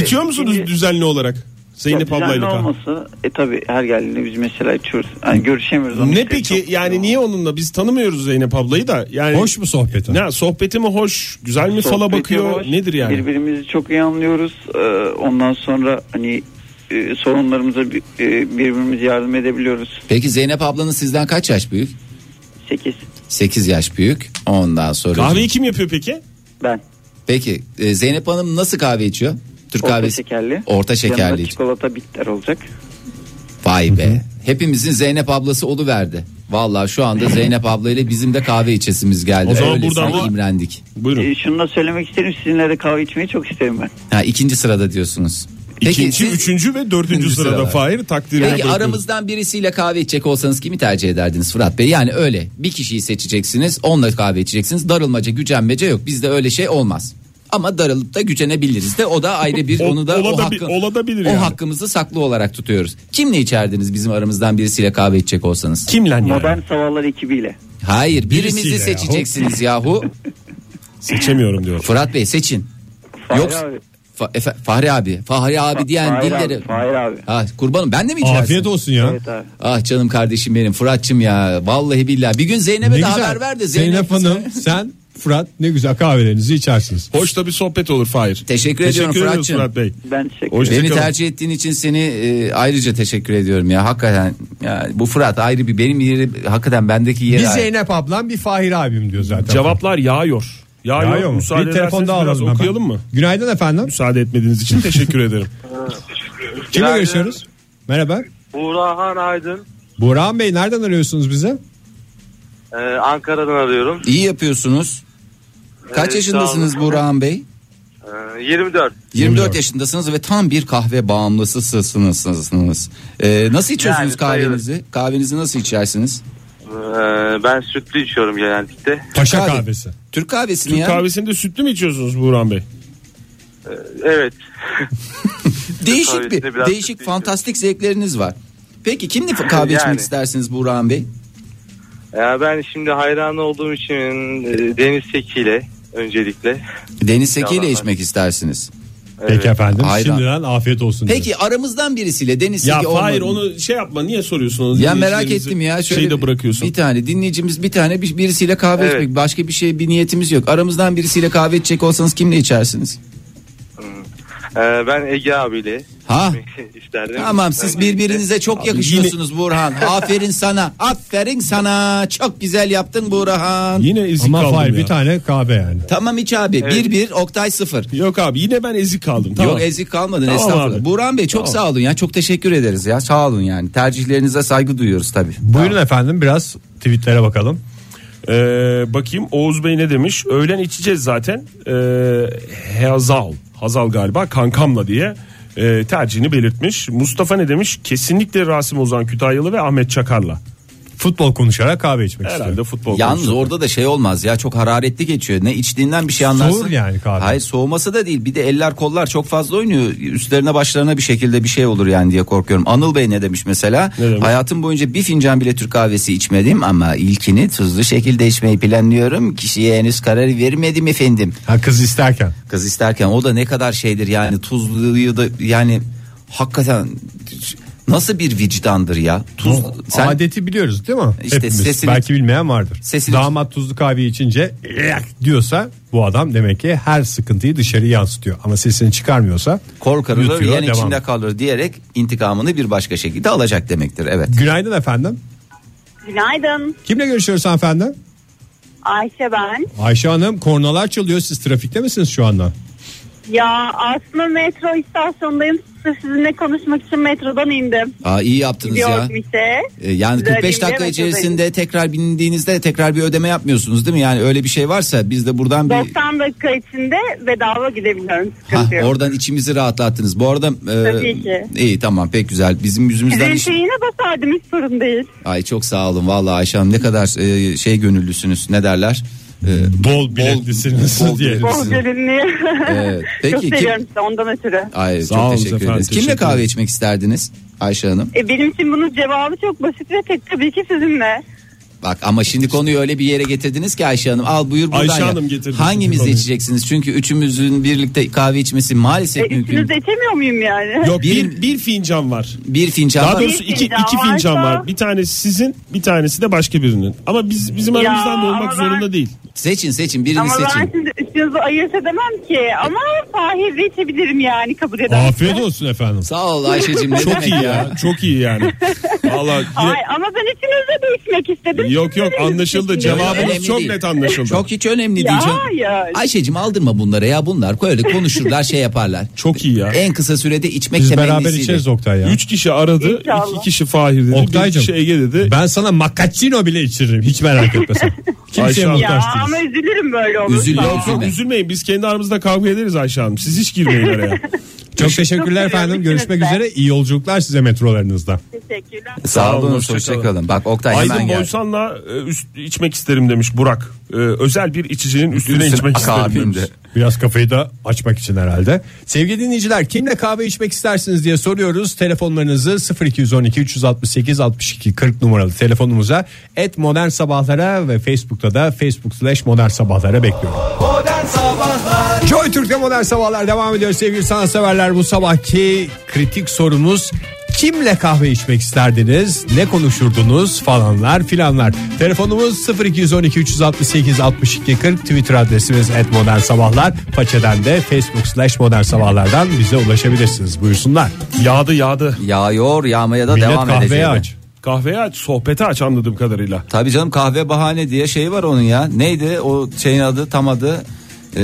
İçiyor musunuz Şimdi- düzenli olarak? Zeynep Ya düzenli ablayla kahve. olması e tabi her geldiğinde biz mesela içiyoruz. Yani görüşemiyoruz. ama Ne işte peki çok- yani niye onunla biz tanımıyoruz Zeynep ablayı da yani Hoş mu sohbeti? Ne sohbeti mi hoş güzel mi fala Sohbeti bakıyor hoş, nedir yani? Birbirimizi çok iyi anlıyoruz. Ee, ondan sonra hani e, sorunlarımıza bir- e, birbirimize yardım edebiliyoruz. Peki Zeynep ablanız sizden kaç yaş büyük? 8 8 yaş büyük. Ondan sonra. Kahveyi kim yapıyor peki? ben. Peki e, Zeynep Hanım nasıl kahve içiyor? Türk Orta kahvesi. şekerli. Orta şekerli. Yanında iç- çikolata bitter olacak. Vay be. Hepimizin Zeynep ablası oluverdi. Vallahi şu anda Zeynep ablayla bizim de kahve içesimiz geldi. O zaman Öylesine buradan da- imrendik. Buyurun. Ee, şunu da söylemek isterim. Sizinle de kahve içmeyi çok isterim ben. Ha, ikinci sırada diyorsunuz. Peki İkinci, siz- üçüncü ve dördüncü Üçüncü sırada sırada. Fahir takdirine Peki aramızdan birisiyle kahve içecek olsanız kimi tercih ederdiniz Fırat Bey? Yani öyle bir kişiyi seçeceksiniz onunla kahve içeceksiniz. Darılmaca gücenmece yok bizde öyle şey olmaz. Ama darılıp da gücenebiliriz de o da ayrı bir O- onu da o, ola da bi- hakkı, ola da bilir o yani. hakkımızı saklı olarak tutuyoruz. Kimle içerdiniz bizim aramızdan birisiyle kahve içecek olsanız? Kimle yani? Modern Sabahlar ekibiyle. Hayır birimizi Birisiyle yahu. seçeceksiniz yahu. Seçemiyorum diyor. Fırat Bey seçin. Fahri Yoksa- abi. Fa- Efe- Fahri abi. Fahri abi diyen Fahri abi, dilleri. Fahri abi. Ha, kurbanım ben de mi içersin? Afiyet olsun ya. Evet abi. Ah canım kardeşim benim Fırat'cığım ya. Vallahi billahi. Bir gün Zeynep'e de haber ver de Zeynep. Zeynep Hanım sen Fırat ne güzel kahvelerinizi içersiniz. Hoş da bir sohbet olur Fahir. Teşekkür ediyorum ediyoruz Fırat'cığım. Fırat Bey. Ben teşekkür Hoş- ederim. Beni Teşekkür tercih ettiğin için seni e, ayrıca teşekkür ediyorum ya. Hakikaten ya, bu Fırat ayrı bir benim yeri hakikaten bendeki Bir yeri. ayrı. Zeynep ablam bir Fahir abim diyor zaten. Cevaplar yağıyor. Yağıyor. Yağıyor mu? Müsaade Bir telefon ederseniz daha biraz alalım. hemen. okuyalım mı? Günaydın efendim. Müsaade etmediğiniz için teşekkür ederim. Kimle görüşüyoruz? Merhaba. Burhan Aydın. Burhan Bey nereden arıyorsunuz bize? Ee, Ankara'dan arıyorum. İyi yapıyorsunuz. Kaç Evet, yaşındasınız Ee, sağ olun. Burhan Bey? Ee, 24. 24, yaşındasınız ve tam bir kahve bağımlısısınız. Ee, nasıl içiyorsunuz Yani sayılır. kahvenizi? Kahvenizi nasıl içersiniz? Ee, ben sütlü içiyorum genellikle. Paşa Kahve. kahvesi. Türk kahvesi mi Türk ya? kahvesini de sütlü mü içiyorsunuz Burhan Bey? Evet. Değişik kahvesini bir biraz değişik kötü fantastik zevkleriniz var. Peki kimle kahve Yani. içmek istersiniz Burhan Bey? Ya e, ben şimdi hayran olduğum için e, Deniz Seki ile öncelikle. Deniz Seki ile Yalan. içmek istersiniz. Evet. Peki efendim. Hayran. Şimdiden afiyet olsun. diyoruz. Peki aramızdan birisiyle Deniz Seki Ya olmadı. Fahir mı? onu şey yapma niye soruyorsun onu? ya merak Dinleyicilerimizi ettim ya. Şöyle şeyi de bir- bırakıyorsun. Bir tane dinleyicimiz bir tane bir- birisiyle kahve Evet. içmek. Başka bir şey bir niyetimiz yok. Aramızdan birisiyle kahve içecek olsanız kimle içersiniz? Ee, ben Ege abiyle Ha? isterdim. Tamam siz Öncelikle. birbirinize çok yakışıyorsunuz Burhan. Aferin sana. Aferin sana. Çok güzel yaptın Burhan. Yine ezik Ama kaldım Fahir ya. bir tane kahve yani. Tamam iç abi. 1-1 Oktay 0. Yok abi yine ben ezik kaldım. Tamam. Yok ezik kalmadın Tamam estağfurullah. abi. Burhan Bey çok Tamam. sağ olun ya. Çok teşekkür ederiz ya. Sağ olun yani. Tercihlerinize saygı duyuyoruz tabii. Buyurun efendim biraz tweetlere bakalım. Ee, bakayım Oğuz Bey ne demiş? Öğlen içeceğiz zaten. Ee, Hazal. Hazal galiba kankamla diye e, tercihini belirtmiş. Mustafa ne demiş? Kesinlikle Rasim Ozan Kütahyalı ve Ahmet Çakar'la. Futbol konuşarak kahve içmek Herhalde istiyorum. futbol. Yalnız konuşuyor. orada da şey olmaz ya çok hararetli geçiyor. Ne içtiğinden bir şey anlarsın. Soğur yani kahve. Hayır soğuması da değil. Bir de eller kollar çok fazla oynuyor. Üstlerine başlarına bir şekilde bir şey olur yani diye korkuyorum. Anıl Bey ne demiş mesela? Ne demiş? Hayatım boyunca bir fincan bile Türk kahvesi içmedim ama ilkini tuzlu şekilde içmeyi planlıyorum. Kişiye henüz karar vermedim efendim. Ha, kız isterken. Kız isterken o da ne kadar şeydir yani tuzluyu da yani hakikaten nasıl bir vicdandır ya. Tuz, Bu sen Adeti biliyoruz değil mi? İşte Hepimiz. sesini- Belki bilmeyen vardır. Sesini- Damat tuzlu kahve içince "Eyak" diyorsa bu adam demek ki her sıkıntıyı dışarı yansıtıyor. Ama sesini çıkarmıyorsa korkarılır yutuyor, yen devam. içinde kalır diyerek intikamını bir başka şekilde alacak demektir evet. Günaydın efendim. Günaydın. Kimle görüşüyoruz hanımefendi? Ayşe ben. Ayşe Hanım kornalar çalıyor. Siz trafikte misiniz şu anda? Ya aslında metro istasyonundayım. Sırf sizinle konuşmak için metrodan indim. şey. Aa, iyi yaptınız ya. Gidiyordum işte. Ee, Yani Size 45 arayayım dakika diye içerisinde tekrar bindiğinizde tekrar bir ödeme yapmıyorsunuz değil mi? Yani öyle bir şey varsa biz de buradan bir 90 dakika içinde bedava gidebiliyorum. Hah, Sıkıntı yok. oradan içimizi rahatlattınız. Bu arada e, Tabii ki. iyi tamam pek güzel. Bizim yüzümüzden Sizin iş- için yine basardım hiç sorun değil. Ay çok sağ olun vallahi Ayşe Hanım ne kadar e, şey gönüllüsünüz ne derler? E, Bol biletlisiniz bol diye. biletlisiniz. Oh gelinliği. Evet, Ee, e, peki, Çok kim- seviyorum sizi ondan ötürü. Ay Sağ çok olun teşekkür efendim, ederiz. Kimle teşekkür kahve ederim. içmek isterdiniz Ayşe Hanım? E, benim için bunun cevabı çok basit ve tek tabii ki sizinle. Bak ama şimdi konuyu öyle bir yere getirdiniz ki Ayşe Hanım. Al buyur buradan Ayşe ya. Hanım getirdi Hangimiz konuyu. içeceksiniz? Çünkü üçümüzün birlikte kahve içmesi E, maalesef mümkün. üçünüz de içemiyor muyum yani? Yok Bir- bir, bir fincan var. Bir fincan Daha var. doğrusu iki, fincan iki fincan varsa- var. Bir tanesi sizin bir tanesi de başka birinin. Ama biz bizim Ya, aramızdan da olmak ama ben- zorunda değil. Seçin seçin birini Ama ben seçin. şimdi üçünüzü ayırt edemem ki. Ama Fahir'le içebilirim yani kabul ederim. Afiyet olsun efendim. Sağ ol Ayşe'cim ne Çok demek iyi ya. ya. Çok iyi yani. Vallahi yine- Ay, ama ben üçünüzle de içmek istedim. Yok yok anlaşıldı. Önemli Cevabımız çok şey değil. net anlaşıldı. Çok hiç önemli Ya, değil canım. ya. Ayşe'cim aldırma bunlara ya bunlar böyle konuşurlar şey yaparlar. Çok iyi ya. En kısa sürede içmek Biz beraber temennisiyle. içeriz Oktay ya. Üç kişi aradı. İnşallah. iki kişi Fahir dedi. bir Oktay'cım. kişi Ege dedi. Ben sana macchiato bile içiririm. Hiç merak etme sen. Ayşe Kimseye Hanım. Ya muhtaç ama değiliz. üzülürüm böyle olursa. Üzülme, Yok üzülme. üzülmeyin biz kendi aramızda kavga ederiz Ayşe Hanım. Siz hiç girmeyin araya. Çok teşekkürler seviyorum efendim. ikinizi Görüşmek de. üzere. İyi yolculuklar size metrolarınızda. Teşekkürler. Sağ olun, olun, hoşça hoşça kalın. Bak Oktay hemen Aydın gel. Boysan'la e, üst, içmek isterim demiş Burak. E, özel bir içicinin üstüne Üstüne içmek isterim akabinde. demiş. Biraz kafayı da açmak için herhalde. Sevgili dinleyiciler kimle kahve içmek istersiniz diye soruyoruz. Telefonlarınızı 0212 368 62 40 numaralı telefonumuza et modern sabahlara ve Facebook'ta da facebook slash modern sabahlara bekliyorum. Joy Türk'te modern sabahlar devam ediyor sevgili sanatseverler. Bu sabahki kritik sorumuz kimle kahve içmek isterdiniz? Ne konuşurdunuz falanlar filanlar. Telefonumuz 0212 368 62 40 Twitter adresimiz et modern sabahlar. Paçeden de Facebook slash modern sabahlardan bize ulaşabilirsiniz. Buyursunlar. Yağdı yağdı. Yağıyor yağmaya da Millet devam edecek. kahveye aç. Kahveye aç sohbete aç anladığım kadarıyla. Tabii canım kahve bahane diye şey var onun ya. Neydi o şeyin adı tam adı? Ee,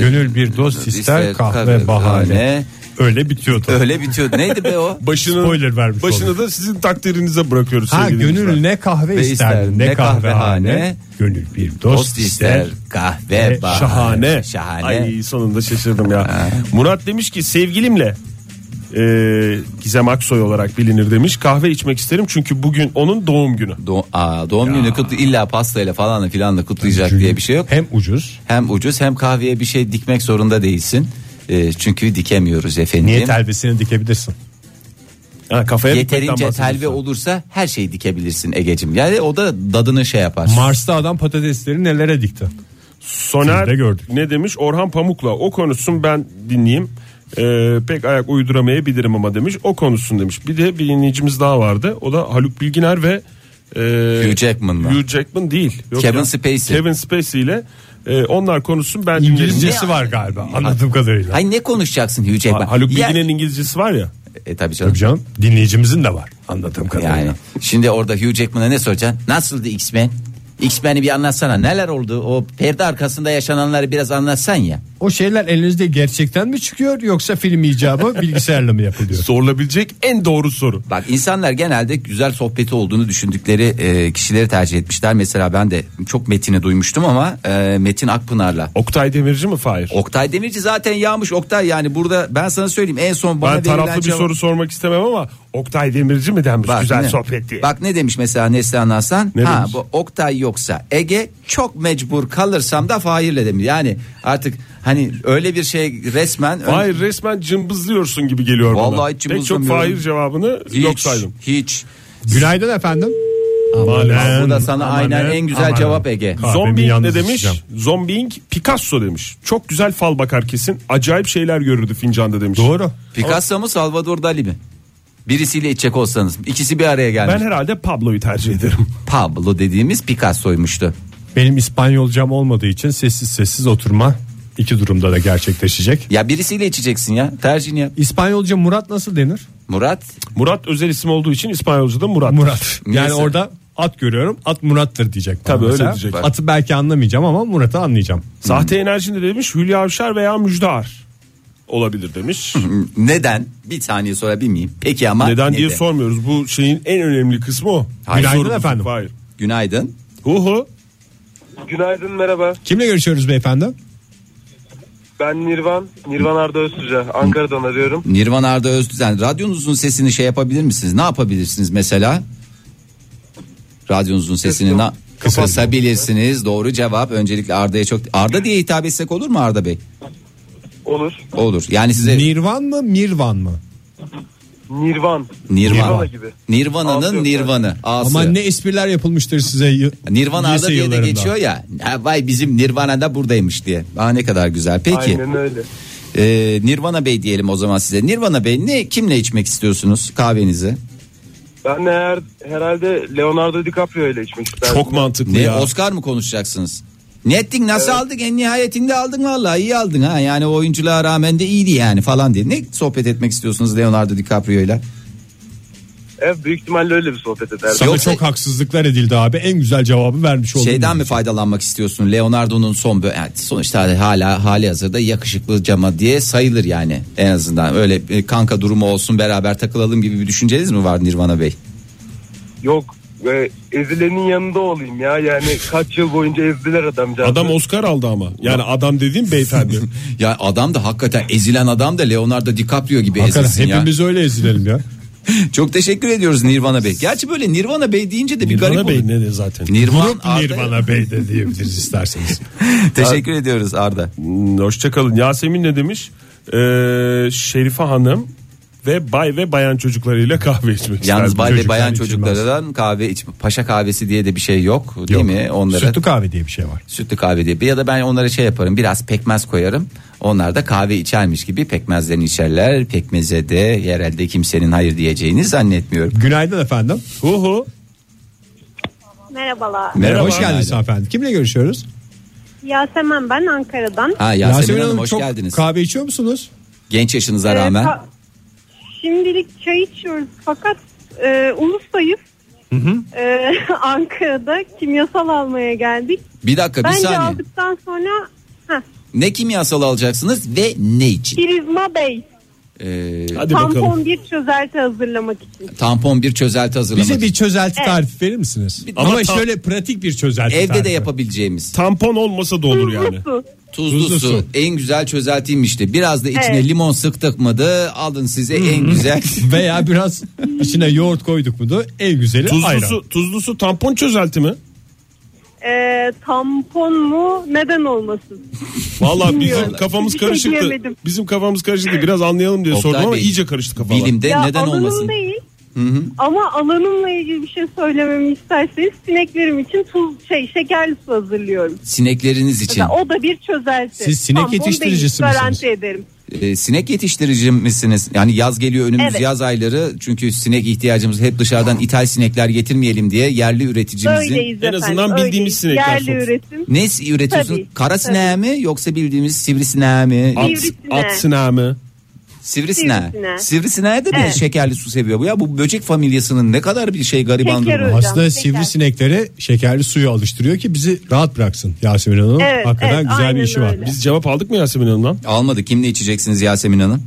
Gönül bir dost İster ister kahve kahve bahane. bahane. Öyle bitiyor tabii. öyle bitiyordu. Neydi be o? Başını, Spoiler vermiş Başını da sizin takdirinize bırakıyoruz. Ha sevgili gönül dinleyiciler. ne kahve Ve ister ister, ne ne kahvehane kahvehane, gönül bir Dost ister kahve Ve bahane. E, Şahane. Şahane. Ay sonunda şaşırdım ya. Murat demiş ki sevgilimle e, Gizem Aksoy olarak bilinir demiş. Kahve içmek isterim çünkü bugün onun doğum günü. Do- Aa, doğum günü kutlu illa pastayla falan da filan da kutlayacak diye bir şey yok. Hem ucuz. Hem ucuz hem kahveye bir şey dikmek zorunda değilsin. Ee, çünkü dikemiyoruz efendim. Niye telbesini dikebilirsin? Ha, kafaya dikmekten Yeterince bahsediyorsun. telve olursa her şeyi dikebilirsin Egecim. Yani o da dadını şey yapar. Mars'ta adam patatesleri nelere dikti? Soner Filmde gördük. ne demiş? Orhan Pamuk'la o konuşsun ben dinleyeyim. Ee, pek ayak uyduramayabilirim ama demiş. O konuşsun demiş. Bir de bir dinleyicimiz daha vardı. O da Haluk Bilginer ve e, Hugh Jackman'la. Hugh Jackman değil. Yok Kevin Spacey. Kevin Spacey ile e, onlar konuşsun ben dinleyeyim. İngilizcesi var galiba anladığım kadarıyla. Hay ne konuşacaksın Hugh Jackman? Ha, Haluk Ya- Bilginer'in İngilizcesi var ya. E tabii canım. Tabii canım dinleyicimizin de var anladığım kadarıyla. Yani şimdi orada Hugh Jackman'a ne soracaksın? Nasıldı X-Men? X-Men'i bir anlatsana. Neler oldu? O perde arkasında yaşananları biraz anlatsan ya. O şeyler elinizde gerçekten mi çıkıyor yoksa film icabı bilgisayarla mı yapılıyor? Sorulabilecek en doğru soru. Bak insanlar genelde güzel sohbeti olduğunu düşündükleri e, kişileri tercih etmişler. Mesela ben de çok Metin'i duymuştum ama e, Metin Akpınar'la. Oktay Demirci mi Fahir? Oktay Demirci zaten yağmış Oktay yani burada ben sana söyleyeyim en son bana ben taraflı verilen bir cevap- soru sormak istemem ama Oktay Demirci mi denmiş Bak güzel ne- sohbet diye. Bak ne demiş mesela Neslihan Hasan? Ne ha demiş? bu Oktay yoksa Ege çok mecbur kalırsam da Fahir'le demiş. Yani artık hani öyle bir şey resmen Hayır resmen cımbızlıyorsun gibi geliyor bana. Vallahi hiç Pek çok cımbızlamıyorum. Fahir cevabını hiç, yok saydım. Hiç. Günaydın efendim. Bak, bu da sana aynen en güzel cevap Ege. Kahvemi Zombing yalnız ne demiş? içeceğim. Zombing Picasso demiş. Çok güzel fal bakar kesin. Acayip şeyler görürdü fincanda demiş. Doğru. Picasso mu Salvador Dali mi? Birisiyle içecek olsanız ikisi bir araya Ben gelmiş. herhalde Pablo'yu tercih ederim. Pablo dediğimiz Picasso'ymuştu. Benim İspanyolcam olmadığı için sessiz sessiz oturma iki durumda da gerçekleşecek. Ya birisiyle içeceksin ya. Tercihini yap. İspanyolca Murat nasıl denir? Murat Murat özel isim olduğu için İspanyolca'da Murat. Murat. Yani Neyse. orada at görüyorum. At Murat'tır diyecek. bana Tabii öyle mesela. diyecek. Atı belki anlamayacağım ama Murat'ı anlayacağım. Sahte enerji ne demiş? Hülya Avşar veya Müjde Ar olabilir demiş. neden? Bir saniye sorabilir miyim? Peki ama Neden diye neden? sormuyoruz. Bu şeyin en önemli kısmı o. Hayır. Bir Günaydın sorumlusu. efendim. Hayır. Günaydın. Uhu. Günaydın merhaba. Kimle görüşüyoruz beyefendi? Ben Nirvan. Nirvan Arda Öztürk'e Ankara'dan arıyorum. Nirvan Arda Öztüzen radyonuzun sesini şey yapabilir misiniz? Ne yapabilirsiniz mesela? Radyonuzun sesini na- kısabilirsiniz. Doğru cevap. Öncelikle Arda'ya çok Arda diye hitap etsek olur mu Arda Bey? Olur. Olur. Yani size Nirvan mı Mirvan mı? Nirvan. Nirvana. Nirvana gibi. Nirvana'nın Ağzı- Nirvanı. A'sı. Ama ne espriler yapılmıştır size. y- Nirvana lise Arda diye de yıllarında. geçiyor ya. "Ha, Vay bizim Nirvana da buradaymış diye. Aa ne kadar güzel. Peki. Aynen öyle. Ee, Nirvana Bey diyelim o zaman size. Nirvana Bey ne kimle içmek istiyorsunuz kahvenizi? Ben de her, herhalde Leonardo DiCaprio ile içmek isterdim. Çok mantıklı Ne ya. Oscar mı konuşacaksınız? Ne ettin nasıl aldık en nihayetinde aldın vallahi iyi aldın ha yani o oyunculuğa rağmen de iyiydi yani falan diye. Ne sohbet etmek istiyorsunuz Leonardo DiCaprio ile? Evet, E, büyük ihtimalle öyle bir sohbet ederdim. Sana Yoksa- çok haksızlıklar edildi abi. En güzel cevabı vermiş oldun. Şeyden mi faydalanmak istiyorsun Leonardo'nun son bö- yani sonuçta hala hali hazırda yakışıklı cama diye sayılır yani en azından öyle e, bir kanka durumu olsun beraber takılalım gibi bir düşünceniz mi var Nirvana Bey? Yok e, ezilenin yanında olayım ya. Yani kaç yıl boyunca ezdiler adamcağızı. Adam Oscar aldı ama. Yani adam dediğim beyefendi. Ya adam da hakikaten ezilen adam da Leonardo DiCaprio gibi ezilsin ya. hepimiz öyle ezilelim ya. Çok teşekkür ediyoruz Nirvana Bey. Gerçi böyle Nirvana Bey deyince de bir Nirvana garip Bey oldu. ne de zaten. Nirvan Grup Arda- Nirvana Bey de diyebiliriz isterseniz. Teşekkür ediyoruz Arda. Hmm, Hoşçakalın. Yasemin ne demiş? Ee, Şerife Hanım ve bay ve bayan çocuklarıyla kahve içmek Yalnız isterdim. bay ve Çocuklar bayan içilmez. çocuklardan kahve iç paşa kahvesi diye de bir şey yok değil Yok. mi? Onlara Sütlü kahve diye bir şey var. sütlü kahve diye ya da ben onlara şey yaparım biraz pekmez koyarım. Onlar da kahve içermiş gibi pekmezlerini içerler. Pekmeze de herhalde kimsenin hayır diyeceğini zannetmiyorum. Günaydın efendim. Uhu. Merhabalar. Merhaba. Hoş geldiniz hanımefendi. Kimle görüşüyoruz? Yasemen ben Ankara'dan. Ha Yasemin, Hanım, hoş çok geldiniz. kahve içiyor musunuz? Genç yaşınıza Ee, rağmen. ka- şimdilik çay içiyoruz fakat e, ulustayız. E, Ankara'da kimyasal almaya geldik. Bir E, dakika bir Bence saniye. aldıktan sonra heh, Ne kimyasal alacaksınız ve ne için? Prizma Bey Ee, Hadi bakalım. tampon bir çözelti hazırlamak için. tampon bir çözelti hazırlamak. Bize bir için. çözelti tarifi verir misiniz? Bir- Ama, Ama tam- şöyle pratik bir çözelti Evde tarifi. de yapabileceğimiz Tampon olmasa da olur yani. Su. tuzlu, Tuzlu su. su. en güzel çözeltiymişti. Biraz da içine Evet. limon sıktık mıydı? Alın size en güzel. Veya biraz içine yoğurt koyduk mu da en güzeli Tuzlu ayran. su, tuzlu su tampon çözelti mi? E, tampon mu neden olmasın? Valla bizim Bilmiyorum. kafamız Bir şey karışıktı. diyemedim. Bizim kafamız karışıktı. Biraz anlayalım diye Oktay sordum ama Bey, iyice karıştı kafalar. Bilimde neden alanım olmasın? değil. Ama alanımla ilgili bir şey söylememi isterseniz sineklerim için tuz şey şekerli su hazırlıyorum. Sinekleriniz için. Mesela o da bir çözelti. Siz sinek Tampon yetiştiricisi değil, misiniz? Garanti ederim. Ee, sinek yetiştirici misiniz? Yani yaz geliyor önümüz Evet. yaz ayları. Çünkü sinek ihtiyacımız hep dışarıdan ithal sinekler getirmeyelim diye yerli üreticimizin. Öyleyiz en azından efendim, bildiğimiz öyleyiz. sinekler Yerli sonuçta. üretim. Ne si- üretiyorsunuz? Tabii, Kara tabii. sineği mi yoksa bildiğimiz sivrisineği mi? At, Sivrisine. at sineği mi? Sivrisine. Sivrisine. Sivrisineğe de bir Evet. şekerli su seviyor bu ya. Bu böcek familyasının ne kadar bir şey gariban Şeker durumu. Hocam, Aslında şeker. sivrisinekleri şekerli suyu alıştırıyor ki bizi rahat bıraksın Yasemin Hanım. Evet, Hakikaten evet, güzel bir aynen işi var. öyle. Biz Biz cevap aldık mı Yasemin Hanım'dan? Almadı. Kimle içeceksiniz Yasemin Hanım?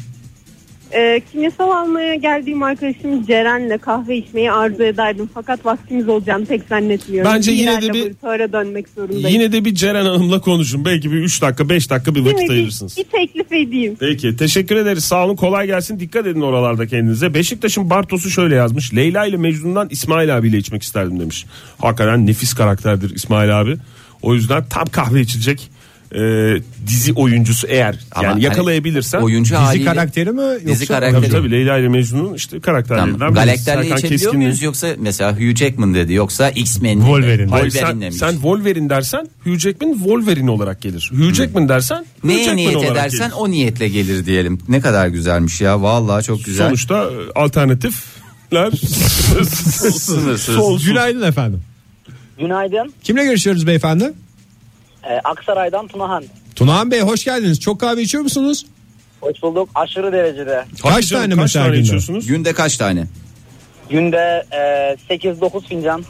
Ee, kimyasal almaya geldiğim arkadaşım Ceren'le kahve içmeyi arzu ederdim. Fakat vaktimiz olacağını pek zannetmiyorum. Bence yine İler de bir- laboratuvara dönmek zorundayım. Yine de bir Ceren Hanım'la konuşun. Belki bir 3 dakika 5 dakika bir Yine vakit bir- ayırırsınız. Bir teklif edeyim. Peki teşekkür ederiz sağ olun kolay gelsin dikkat edin oralarda kendinize. Beşiktaş'ın Bartos'u şöyle yazmış Leyla ile Mecnun'dan İsmail abiyle içmek isterdim demiş. Hakikaten nefis karakterdir İsmail abi. O yüzden tam kahve içilecek e, dizi oyuncusu eğer Ama yani hani yakalayabilirsen. Oyuncu Dizi haliyle. karakteri mi yoksa? Dizi karakteri. Tabii tabii Leyla ile Mecnun'un işte karakterlerinden Tamam. birisi. Galakterle Hani Serkan içebiliyor Keskin'le. muyuz yoksa mesela Hugh Jackman dedi yoksa X-Men mi? Wolverine. Hayır, Wolverine'le sen, mi? sen Wolverine dersen Hugh Jackman Wolverine olarak gelir. Hugh Jackman dersen Hugh Hmm. Neye Jackman niyet olarak edersen gelir. o niyetle gelir diyelim. Ne kadar güzelmiş ya. Vallahi çok güzel. Sonuçta e, alternatifler Sınırsız. Sonsuz. Günaydın efendim. Günaydın. Kimle görüşüyoruz beyefendi? Ee, Aksaray'dan Tunahan. Tunahan Bey hoş geldiniz. Çok kahve içiyor musunuz? Hoş bulduk. Aşırı derecede. Kaç, Canım, tane kaç mesela tane günde? içiyorsunuz? Günde kaç tane? Günde e, 8-9 fincan.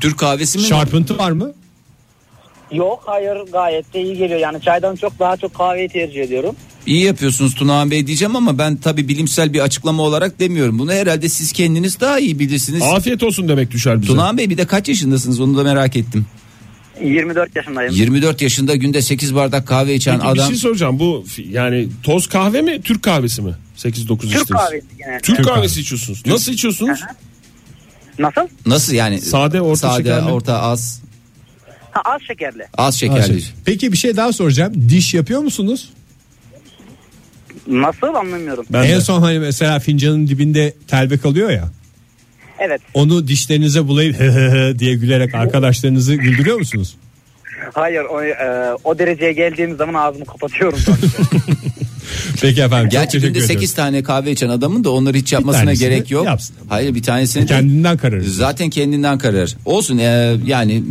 Türk kahvesi mi? Şarpıntı var mı? Yok hayır gayet de iyi geliyor. Yani çaydan çok daha çok kahveyi tercih ediyorum. İyi yapıyorsunuz Tunahan Bey diyeceğim ama ben tabii bilimsel bir açıklama olarak demiyorum. Bunu herhalde siz kendiniz daha iyi bilirsiniz. Afiyet olsun demek düşer bize. Tunahan Bey bir de kaç yaşındasınız onu da merak ettim. 24 yaşındayım. 24 yaşında günde 8 bardak kahve içen Peki adam. bir şey soracağım bu fi- yani toz kahve mi Türk kahvesi mi? 8-9 Türk içtiniz. kahvesi genelde. Türk Türk, kahvesi kahvesi. içiyorsunuz. Nasıl içiyorsunuz? Nasıl? Nasıl yani? Sade, orta Sade, şekerli. orta, az. Ha, az şekerli. Az Ha, şekerli. şey. Peki bir şey daha soracağım. Diş yapıyor musunuz? Nasıl anlamıyorum. Ben en de. son hani mesela fincanın dibinde telbe kalıyor ya. Evet. Onu dişlerinize bulayıp diye gülerek arkadaşlarınızı güldürüyor musunuz? Hayır o, e, o dereceye geldiğim zaman ağzımı kapatıyorum. Peki efendim. çok Gerçi teşekkür günde ediyorum. 8 tane kahve içen adamın da onları hiç yapmasına tanesini gerek yok. yapsın. Hayır bir tanesini de- Kendinden kararız. Zaten kendinden karar. Olsun ee, yani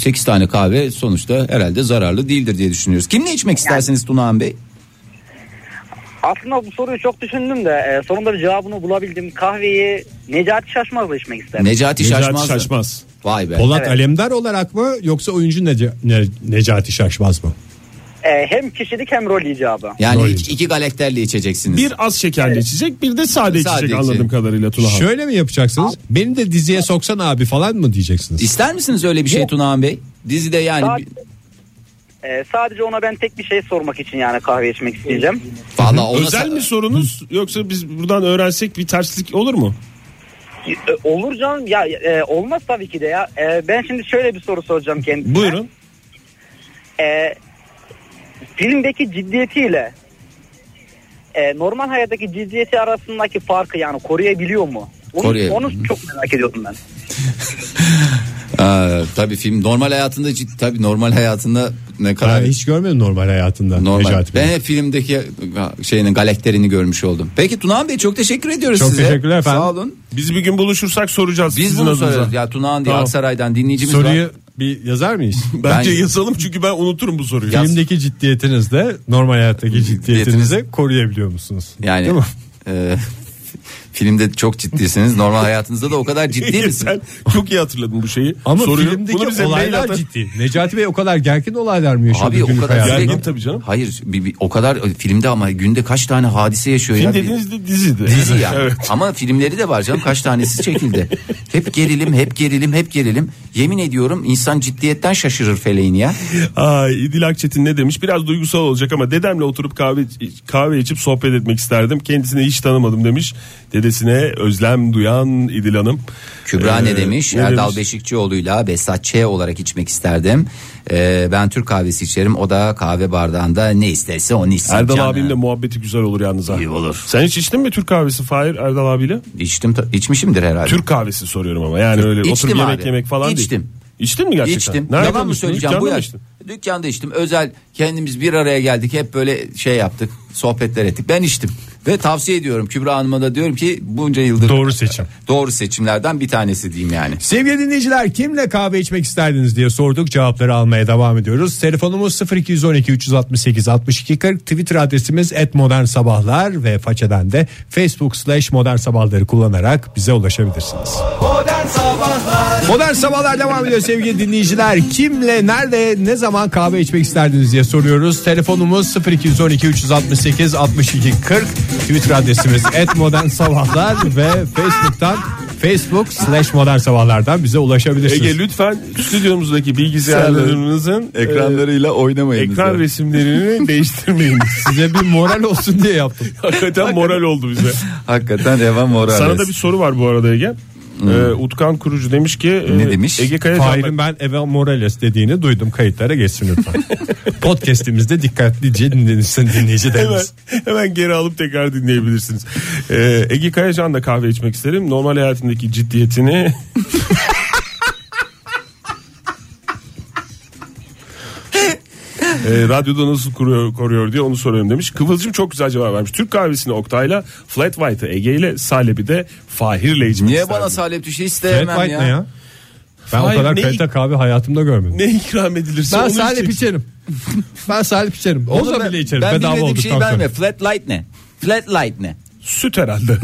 8 tane kahve sonuçta herhalde zararlı değildir diye düşünüyoruz. Kimle içmek istersiniz Tunahan Bey? Aslında bu soruyu çok düşündüm de e, sonunda bir cevabını bulabildim. Kahveyi Necati Şaşmaz'la içmek isterim. Necati, Necati Şaşmaz. mı? Şaşmaz. Vay be. Polat Evet. Alemdar olarak mı yoksa oyuncu Nece- Ne- Necati Şaşmaz mı? e, hem kişilik hem rol icabı. Yani iki, iki galakterli içeceksiniz. Bir az şekerli içecek bir de sade, Sade içecek içecek. anladığım kadarıyla Tuna Hanım. Şöyle mi yapacaksınız? Beni de diziye soksan abi falan mı diyeceksiniz? İster misiniz öyle bir şey Tunahan Bey? Dizide yani Sadece- E, sadece ona ben tek bir şey sormak için yani kahve içmek isteyeceğim. Vallahi ona Özel mi sorunuz yoksa biz buradan öğrensek bir terslik olur mu? E, olur canım ya e, olmaz tabii ki de ya. E, ben şimdi şöyle bir soru soracağım kendisine. Buyurun. E, filmdeki ciddiyetiyle e, normal hayattaki ciddiyeti arasındaki farkı yani koruyabiliyor mu? Onu, Koruyor. onu çok merak ediyordum ben. Aa, tabii film normal hayatında cid- tabii normal hayatında ne kadar Ben hiç görmedim normal hayatında normal. Necati Bey. Ben hep filmdeki şeyinin galakterini görmüş oldum. Peki Tunahan Bey çok teşekkür ediyoruz Çok size. teşekkürler efendim. Sağ olun. Biz bir gün buluşursak soracağız. Biz sizin bunu adınıza. soruyoruz. Ya Tunahan diye Tamam. Aksaray'dan dinleyicimiz Soruyu var. bir yazar mıyız? Bence Ben- yazalım çünkü ben unuturum bu soruyu. Filmdeki ciddiyetinizle normal hayattaki ciddiyetinizi koruyabiliyor musunuz? Değil Yani mi? e, filmde çok ciddisiniz. Normal hayatınızda da o kadar ciddi misiniz? Sen çok iyi hatırladın bu şeyi. Ama Soruyu- bunu bize filmdeki mail olaylar atan- ciddi. Necati Bey o kadar gergin olaylar mı yaşadı Abi o günlük kadar hayatında? Gergin tabii canım. Hayır bir- bir- o kadar e, filmde ama günde kaç tane hadise yaşıyor Film ya. Bir- dediğiniz de diziydi. Dizi yani. Evet. Ama filmleri de var canım kaç tanesi çekildi. hep gerilim, hep gerilim, hep gerilim. Yemin ediyorum insan ciddiyetten şaşırır feleğin ya. Ay, İdil Akçetin ne demiş? Biraz duygusal olacak ama dedemle oturup kahve kahve içip sohbet etmek isterdim. Kendisini hiç tanımadım demiş. Dedesine özlem duyan İdil Hanım. Kübra Ee, ne demiş? ne Erdal demiş? Beşikçioğlu'yla Besat Ç olarak içmek isterdim. Ee, ben Türk kahvesi içerim. O da kahve bardağında ne isterse onu içsin. Erdal canım. abimle muhabbeti güzel olur yalnız. ha. İyi olur. Sen hiç içtin mi Türk kahvesi Fahir Erdal abiyle? İçtim, e, ta- içmişimdir herhalde. Türk kahvesi soruyorum ama yani öyle İçtim oturup yemek abi. yemek falan değil. İçtim. İçtin mi gerçekten? İçtim. Nereden Yalan mı içtin? söyleyeceğim Dükkanda bu mı yaş? içtin? Dükkanda içtim. Özel kendimiz bir araya geldik. Hep böyle şey yaptık. Sohbetler ettik. Ben içtim. Ve tavsiye ediyorum Kübra Hanım'a da diyorum ki bunca yıldır Doğru seçim. doğru seçimlerden bir tanesi diyeyim yani. Sevgili dinleyiciler kimle kahve içmek isterdiniz diye sorduk cevapları almaya devam ediyoruz. Telefonumuz 0212 368 62 40 Twitter adresimiz et sabahlar ve façeden de Facebook slash modern sabahları kullanarak bize ulaşabilirsiniz. Modern Sabahlar devam ediyor sevgili dinleyiciler. Kimle, nerede, ne zaman kahve içmek isterdiniz diye soruyoruz. Telefonumuz 0212 368 62 40. Twitter adresimiz et sabahlar ve Facebook'tan Facebook slash modern sabahlardan bize ulaşabilirsiniz. Ege lütfen stüdyomuzdaki bilgisayarlarınızın Ekranlarıyla e, oynamayın. ekran resimlerini değiştirmeyiniz. Size bir moral olsun diye yaptım. Hakikaten moral oldu bize. Hakikaten Revan Morales. Sana da bir soru var bu arada Ege. Ee, Utkan Kurucu demiş ki e, Ne demiş? Ege Kayacan Fahir'in ben Eva Morales dediğini duydum. Kayıtlara geçsin lütfen. Podcast'imizde dikkatlice dinlenirsin hemen, dinleyicilerimiz. hemen geri alıp tekrar dinleyebilirsiniz. Ee, Ege Kayacan'la kahve içmek isterim. Normal hayatındaki ciddiyetini Ee, radyoda nasıl kuruyor, koruyor diye onu soruyorum demiş. Kıvılcım çok güzel cevap vermiş. Türk kahvesini Oktay'la, Flat White'ı Ege'yle, Salep'i de Fahir'le içmek Niye şey isterdim. bana salep düşü Red istemem White ya. ne ya? Ben Hayır, o kadar ne- kalite kahve hayatımda görmedim. Ne ikram edilirse Ben onu salep içeceksin. içerim. Ben salep içerim. Oğlum Oza ben- bile içerim. Ben Bedava bilmediğim şeyi olduktan sonra. verme. Flat light ne? Flat light ne? Süt herhalde.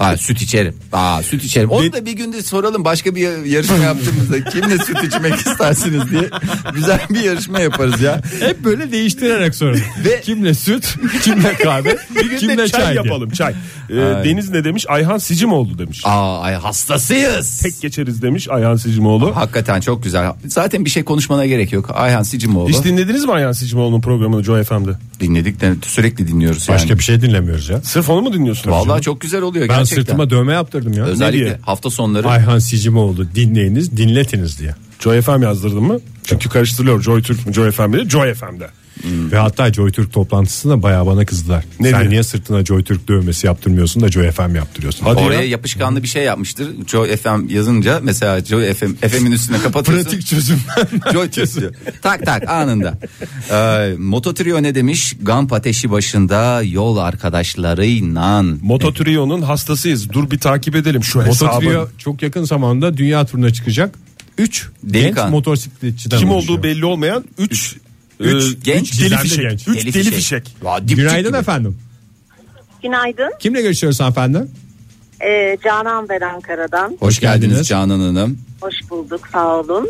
Aa, süt içerim. Aa, süt içerim. Onu da bir günde soralım başka bir yarışma yaptığımızda kimle süt içmek istersiniz diye güzel bir yarışma yaparız ya. Hep böyle değiştirerek sorun. Ve- kimle süt, kimle kahve, Bir gün kimle de çay, çay, diye. yapalım çay. Ee, Deniz ne demiş? Ayhan Sicimoğlu demiş. Aa, ay hastasıyız. Tek geçeriz demiş Ayhan Sicimoğlu. Hakikaten çok güzel. Zaten bir şey konuşmana gerek yok. Ayhan Sicimoğlu. Hiç dinlediniz mi Ayhan Sicimoğlu'nun programını Joy FM'de? Dinledik de sürekli dinliyoruz yani. Başka bir şey dinlemiyoruz ya. Sırf onu mu dinliyorsunuz? Vallahi çok güzel oluyor Ben gerçekten. sırtıma dövme yaptırdım ya. Ne Özellikle diye? hafta sonları. Ayhan Sicimoğlu dinleyiniz, dinletiniz diye. Joy FM yazdırdın mı? Çünkü karıştırılıyor Joy Türk mü Joy FM mi? Joy FM'de. Hmm. Ve hatta JoyTürk toplantısında bayağı bana kızdılar. Ne Sen diyor? niye sırtına JoyTürk dövmesi yaptırmıyorsun da Joy FM yaptırıyorsun. Hadi Oraya ya. yapışkanlı bir şey yapmıştır. Joy FM yazınca mesela Joy FM FM'in üstüne kapatıyorsun. Pratik çözüm. Joy kesiyor. tak tak anında. Ee, Mototrio ne demiş? Gamp ateşi başında yol arkadaşlarıyla. Mototrio'nun hastasıyız. Dur bir takip edelim şu Mototrio hesabı. çok yakın zamanda dünya turuna çıkacak. E, 3 genç Delikanlı. motosikletçiden Kim oluşuyor. olduğu belli olmayan 3 Üç e, genç, şey. gizemli deli fişek. genç. 3 deli fişek. Ya, dipçik Günaydın gibi. efendim. Günaydın. Kimle görüşüyoruz efendim? Ee, Canan ben Ankara'dan. Hoş geldiniz, geldiniz. Canan Hanım. Hoş bulduk sağ olun.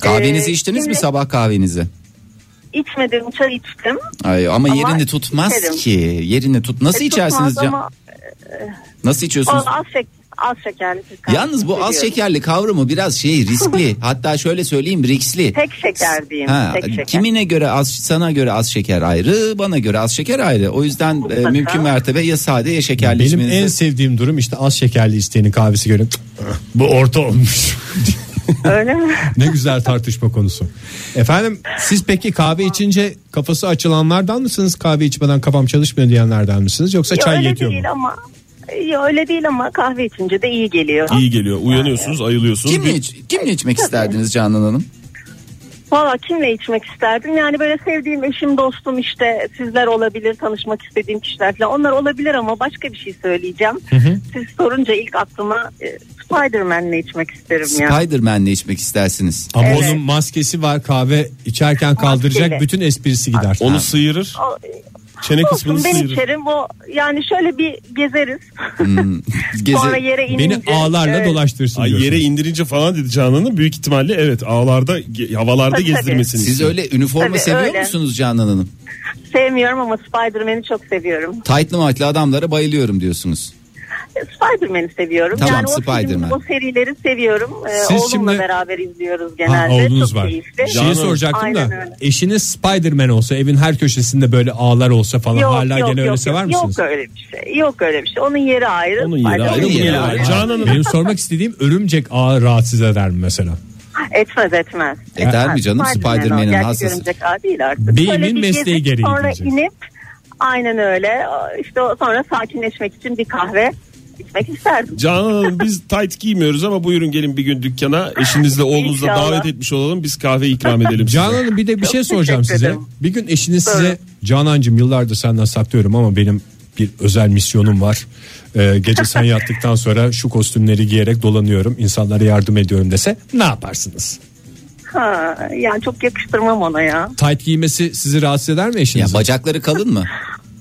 Kahvenizi Ee, içtiniz mi şimdi- sabah kahvenizi? içmedim çay içtim. Ay, ama, yerini tutmaz içerim. ki. Yerini tut. Nasıl E, tutmaz içersiniz can? ama, e, Nasıl içiyorsunuz? o Az, şek az şekerli süt kahve Yalnız bu az seviyorum. şekerli kavramı biraz şey riskli. Hatta şöyle söyleyeyim riskli. Tek şeker diyeyim. Ha, tek şeker. kimine göre az sana göre az şeker ayrı bana göre az şeker ayrı o yüzden e, mümkün mertebe ya sade ya şekerli Benim içmenizi- en sevdiğim durum işte az şekerli isteğinin kahvesi görün. Bu orta olmuş. Öyle mi? ne güzel tartışma konusu. Efendim siz peki kahve içince kafası açılanlardan mısınız? Kahve içmeden kafam çalışmıyor diyenlerden misiniz? Yoksa Ya çay öyle yetiyor mu? değil ama ya öyle değil ama kahve içince de iyi geliyor. İyi geliyor. Uyanıyorsunuz, ayılıyorsunuz. Kimle, iç- kimle içmek isterdiniz Canan Hanım? Valla kimle içmek isterdim? Yani böyle sevdiğim eşim, dostum işte sizler olabilir, tanışmak istediğim kişiler falan. Onlar olabilir ama başka bir şey söyleyeceğim. Siz sorunca ilk aklıma e, Spider-Man'le içmek isterim ya. Spiderman'le içmek istersiniz. Ama onun maskesi var kahve içerken kaldıracak Maskeli. bütün esprisi gider. Onu sıyırır. O- e, Çene Olsun, kısmını ben sıyırır. içerim. O yani şöyle bir gezeriz. Hmm. Sonra yere inince. Beni ağlarla Evet. dolaştırsın. Ay diyorsunuz. yere indirince falan dedi Canan'ın büyük ihtimalle evet ağlarda ge- havalarda Tabii, gezdirmesini. tabii. Siz öyle üniforma Tabii, seviyor öyle. musunuz Canan Hanım? Sevmiyorum ama Spider-Man'i çok seviyorum. E, Taytlı matlı adamlara bayılıyorum diyorsunuz. Spider-Man'i seviyorum. Tamam, yani o, Spider-Man. filmi, o serileri seviyorum. Ee, Siz oğlumla şimdi- beraber izliyoruz Ha, genelde. oğlunuz Çok var. keyifli. Şeyi soracaktım Aynen da öyle. eşiniz Spider-Man olsa evin her köşesinde böyle ağlar olsa falan Yok, hala yok, gene yok, öyle sever yok. misiniz? Yok öyle bir şey. Yok öyle bir şey. Onun yeri ayrı. Spider-Man Canan'ın- Benim sormak istediğim örümcek ağı rahatsız eder mi mesela? Etmez etmez. Eder mi canım? Spider-Man o. Spider-Man'in Gerçi hassası. Görümcek ağ değil artık. Beyimin Böyle bir mesleği gezip gereği Sonra diyeceğiz. inip aynen öyle. İşte o- sonra sakinleşmek için bir kahve içmek isterdim. Canan Hanım biz tight giymiyoruz ama buyurun gelin bir gün dükkana eşinizle oğlunuzla İnşallah. davet etmiş olalım biz kahve ikram edelim size. Canan Hanım bir de bir şey soracağım teşekkür size. ederim. Bir gün eşiniz size Canancım yıllardır senden saklıyorum ama benim bir özel misyonum var. Ee, gece sen yattıktan sonra şu kostümleri giyerek dolanıyorum. insanlara yardım ediyorum dese ne yaparsınız? Ha, yani çok yakıştırmam ona ya. Tight giymesi sizi rahatsız eder mi eşiniz? Ya bacakları kalın mı?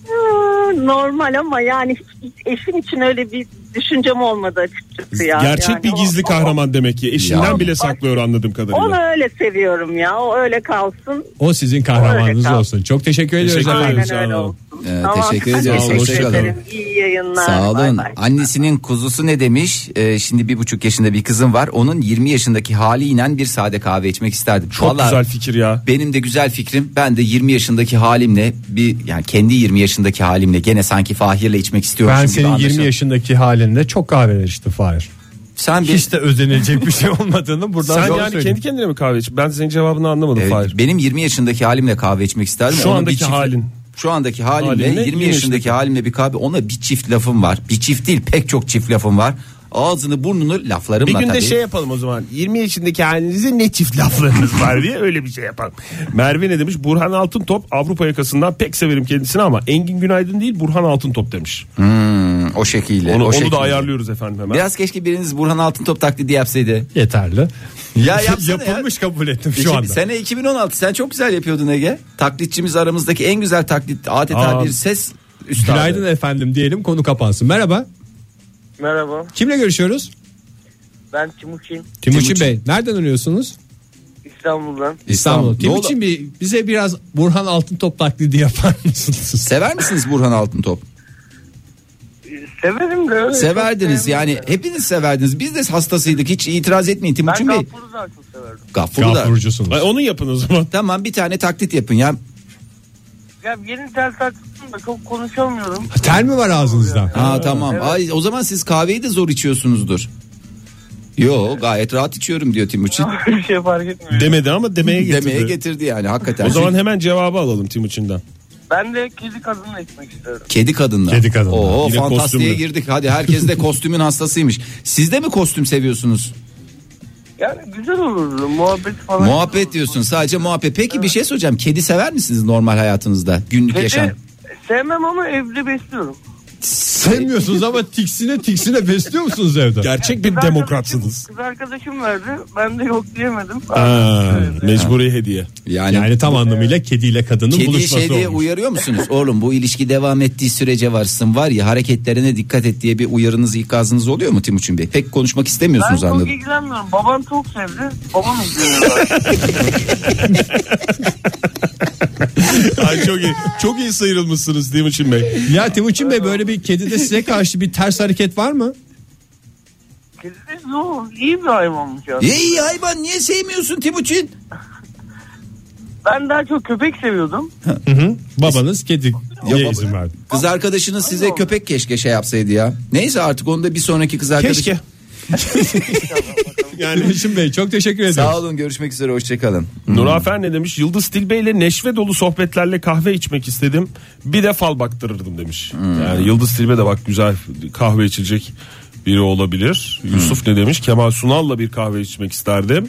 Ha, Normal ama yani hiç- hiç eşim için öyle bir düşüncem olmadı açıkçası ya. Gerçek Yani bir o- gizli kahraman demek ki eşinden bile saklıyor anladığım kadarıyla. Onu öyle seviyorum ya. O öyle kalsın. O sizin kahramanınız olsun. Çok teşekkür ediyoruz Teşekkür efendim. ederiz, Aynen öyle olsun. Ee, teşekkür Hadi ediyoruz. teşekkür Hoşçakalın. ederim. İyi yayınlar. Sağ Bay olun. Annesinin kuzusu ne demiş? Ee, şimdi bir buçuk yaşında bir kızım var. Onun 20 yaşındaki haliyle bir sade kahve içmek isterdim. Çok güzel fikir ya. Benim de güzel fikrim. Ben de 20 yaşındaki halimle bir yani kendi 20 yaşındaki halimle gene sanki Fahir'le içmek istiyorum. Ben senin 20 yaşındaki halinde çok kahveler içtim Fahir. Sen Hiç de özenilecek bir şey olmadığını buradan Sen sana yani söyleyeyim. kendi kendine mi kahve içip ben senin cevabını anlamadım Evet, Fahir. e, Benim 20 yaşındaki halimle kahve içmek isterdim. Şu Ona bir andaki çift- halin. Şu andaki halimle Halinle 20, 20 yaşındaki halimle bir kahve ona bir çift lafım var. Bir çift değil pek çok çift lafım var. Ağzını burnunu laflarımla Bir gün de tabii. şey yapalım o zaman. 20 yaşındaki halinize ne çift laflarınız var diye öyle bir şey yapalım. Merve ne demiş? Burhan Altıntop Avrupa yakasından pek severim kendisini ama Engin Günaydın değil Burhan Altıntop demiş. Hmm, o şekilde. Onu, o onu şekilde. da ayarlıyoruz efendim hemen. Biraz keşke biriniz Burhan Altıntop taklidi yapsaydı. Yeterli. Ya yapsana Yapılmış kabul ettim İki- şu anda. Sene 2016 sen çok güzel yapıyordun Ege. Taklitçimiz aramızdaki en güzel taklit adeta Aa. bir ses üstadı. Günaydın efendim diyelim konu kapansın. Merhaba. Merhaba Kimle görüşüyoruz? ben Timuçin Timuçin Bey. Nereden arıyorsunuz? İstanbul'dan. İstanbul. Timuçin Bey bize biraz Burhan Altıntop taklidi yapar mısınız? Sever misiniz Burhan Altıntop? Severim de. öyle Severdiniz çok yani hepiniz severdiniz. Biz de hastasıydık hiç itiraz etmeyin Timuçin Bey. Gafuru da. Gafurcusunuz. Ay, onu yapın o zaman. Tamam bir tane taklit yapın ya. sevmiyorum. Ya yeni tel taktım da çok konuşamıyorum. Tel mi var ağzınızda? Ha tamam. Ay o zaman siz kahveyi de zor içiyorsunuzdur. Yo gayet rahat içiyorum diyor Timuçin. Bir şey fark etmiyor. Demedi ama demeye getirdi. Demeye getirdi yani hakikaten. O zaman hemen cevabı alalım Timuçin'den. Ben de kedi kadınla içmek isterim. Kedi kadınla. Kedi kadınla. Oo Yine fantastiğe kostümlü. girdik. Hadi herkes de kostümün hastasıymış. Siz de mi kostüm seviyorsunuz? Yani güzel olurdu muhabbet falan. Muhabbet diyorsun. Sadece muhabbet. Peki bir şey soracağım. Kedi sever misiniz normal hayatınızda? Günlük Kedi yaşam. sevmem ama evde besliyorum. Sevmiyorsunuz ama tiksine tiksine besliyor musunuz evde? Gerçek bir demokratsınız. Kız arkadaşım verdi ben de yok diyemedim. Ha, mecburi hediye. Yani, tam anlamıyla kediyle kadının Kediyi buluşması şey diye olmuş. uyarıyor musunuz? Oğlum bu ilişki devam ettiği sürece varsın var ya hareketlerine dikkat et diye bir uyarınız ikazınız oluyor mu Timuçin Bey? Pek konuşmak Ben istemiyorsunuz çok anladım. ilgilenmiyorum. Babam çok sevdi. Babam ilgileniyor. Ay çok iyi. Çok iyi sıyrılmışsınız Timuçin Bey. Ya Timuçin Bey böyle bir kedide size karşı bir ters hareket var mı? Kedi yok. İyi bir hayvanmış ya. İyi hayvan niye sevmiyorsun Timuçin? Ben daha çok köpek seviyordum. Babanız kedi ya izin verdi. Kız arkadaşınız size köpek keşke şey yapsaydı ya. Neyse artık onda bir sonraki kız arkadaş. Keşke. yani Timuçin Bey çok teşekkür ederim. Sağ olun görüşmek üzere hoşçakalın. Hmm. Nurafer ne demiş? Yıldız Tilbe ile neşve dolu sohbetlerle kahve içmek istedim. Bir de fal baktırırdım demiş. Hmm. Yani Yıldız Tilbe de bak güzel kahve içilecek biri olabilir. Hmm. Yusuf ne demiş? Kemal Sunal'la bir kahve içmek isterdim.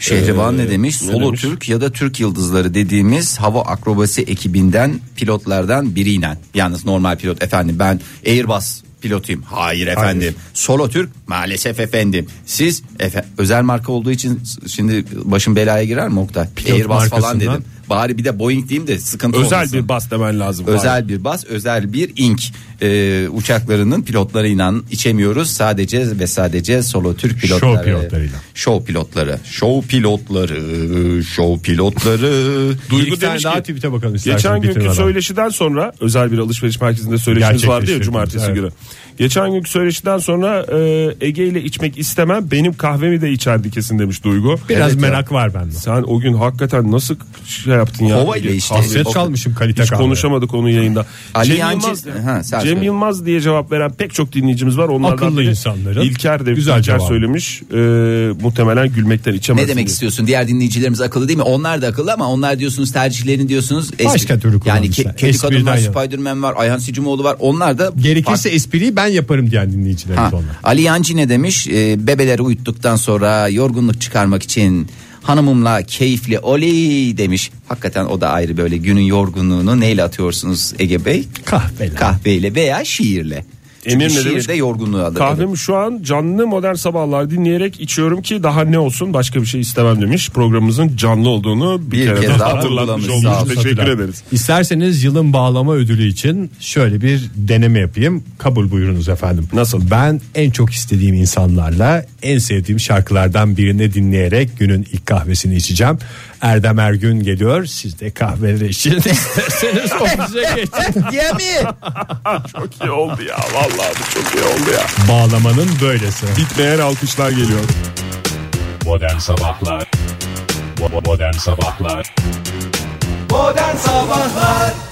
Şehrivan Ee, ne demiş? ne Solo demiş? Türk ya da Türk Yıldızları dediğimiz hava akrobasi ekibinden pilotlardan biriyle. Yalnız normal pilot efendim ben Airbus pilotuyum. Hayır efendim. Solo Türk maalesef efendim. Siz efe- özel marka olduğu için s- şimdi başım belaya girer mi Oktay? Airbus falan markasından. dedim. Bari bir de Boeing diyeyim de sıkıntı Özel olmasın. bir bas demen lazım. Özel bir bas, özel bir ink Ee, uçaklarının pilotları inan içemiyoruz. Sadece ve sadece solo Türk pilotları. Show pilotlarıyla. Show pilotları. Show pilotları. Show pilotları. Duygu Bir tane demiş daha ki, tweet'e bakalım isterseniz Geçen bitirin günkü adam. söyleşiden sonra özel bir alışveriş merkezinde söyleşimiz vardı ya Gerçekleştirdiğimiz, cumartesi evet. günü. Geçen günkü söyleşiden sonra e, Ege ile içmek istemem benim kahvemi de içerdi kesin demiş Duygu. Biraz Evet ya. merak var bende. Sen o gün hakikaten nasıl şey yaptın ya? Kova ile işte. Hasret çalmışım kalite Hiç kahve. konuşamadık onu yayında. Ali Cem, Yancı- Yılmaz, Ha, sen Cem söyle. Yılmaz diye cevap veren pek çok dinleyicimiz var. Onlardan Akıllı biri insanların İlker de güzel İlker cevabı. söylemiş. E, muhtemelen gülmekten içemez. Ne demek istiyorsun? Diğer dinleyicilerimiz akıllı değil mi? Onlar da akıllı ama onlar diyorsunuz tercihlerini diyorsunuz. espri- Başka türlü Yani kullanmışlar. ke- kedi kadın var, Espriden yana. Spiderman var, Ayhan Sicimoğlu var. Onlar da Gerekirse espriyi ben yaparım diyen dinleyicilerimiz Ha, onlar. Ali Yancı ne demiş? Ee, bebeleri uyuttuktan sonra yorgunluk çıkarmak için hanımımla keyifli oley demiş. Hakikaten o da ayrı böyle günün yorgunluğunu neyle atıyorsunuz Ege Bey? Kahveyle. Kahveyle veya şiirle. Çünkü Emir ne şiir demiş? de yorgunluğu adı. Kahvemi şu an canlı modern sabahlar dinleyerek içiyorum ki daha ne olsun başka bir şey istemem demiş. Programımızın canlı olduğunu bir, Bir kere, kez daha daha hatırlatmış vurgulamış. olmuş. Sağ olsun. Teşekkür Hatırlar. ederiz. İsterseniz yılın bağlama ödülü için şöyle bir deneme yapayım. Kabul buyurunuz efendim. Nasıl? Ben en çok istediğim insanlarla en sevdiğim şarkılardan birini dinleyerek günün ilk kahvesini içeceğim. Erdem Ergün geliyor. Siz de kahveleri için isterseniz ofise geçin. Diye mi? çok iyi oldu ya vallahi bu çok iyi oldu ya. Bağlamanın böylesi. Bitmeyen alkışlar geliyor. Modern Sabahlar Bo- Modern Sabahlar Modern Sabahlar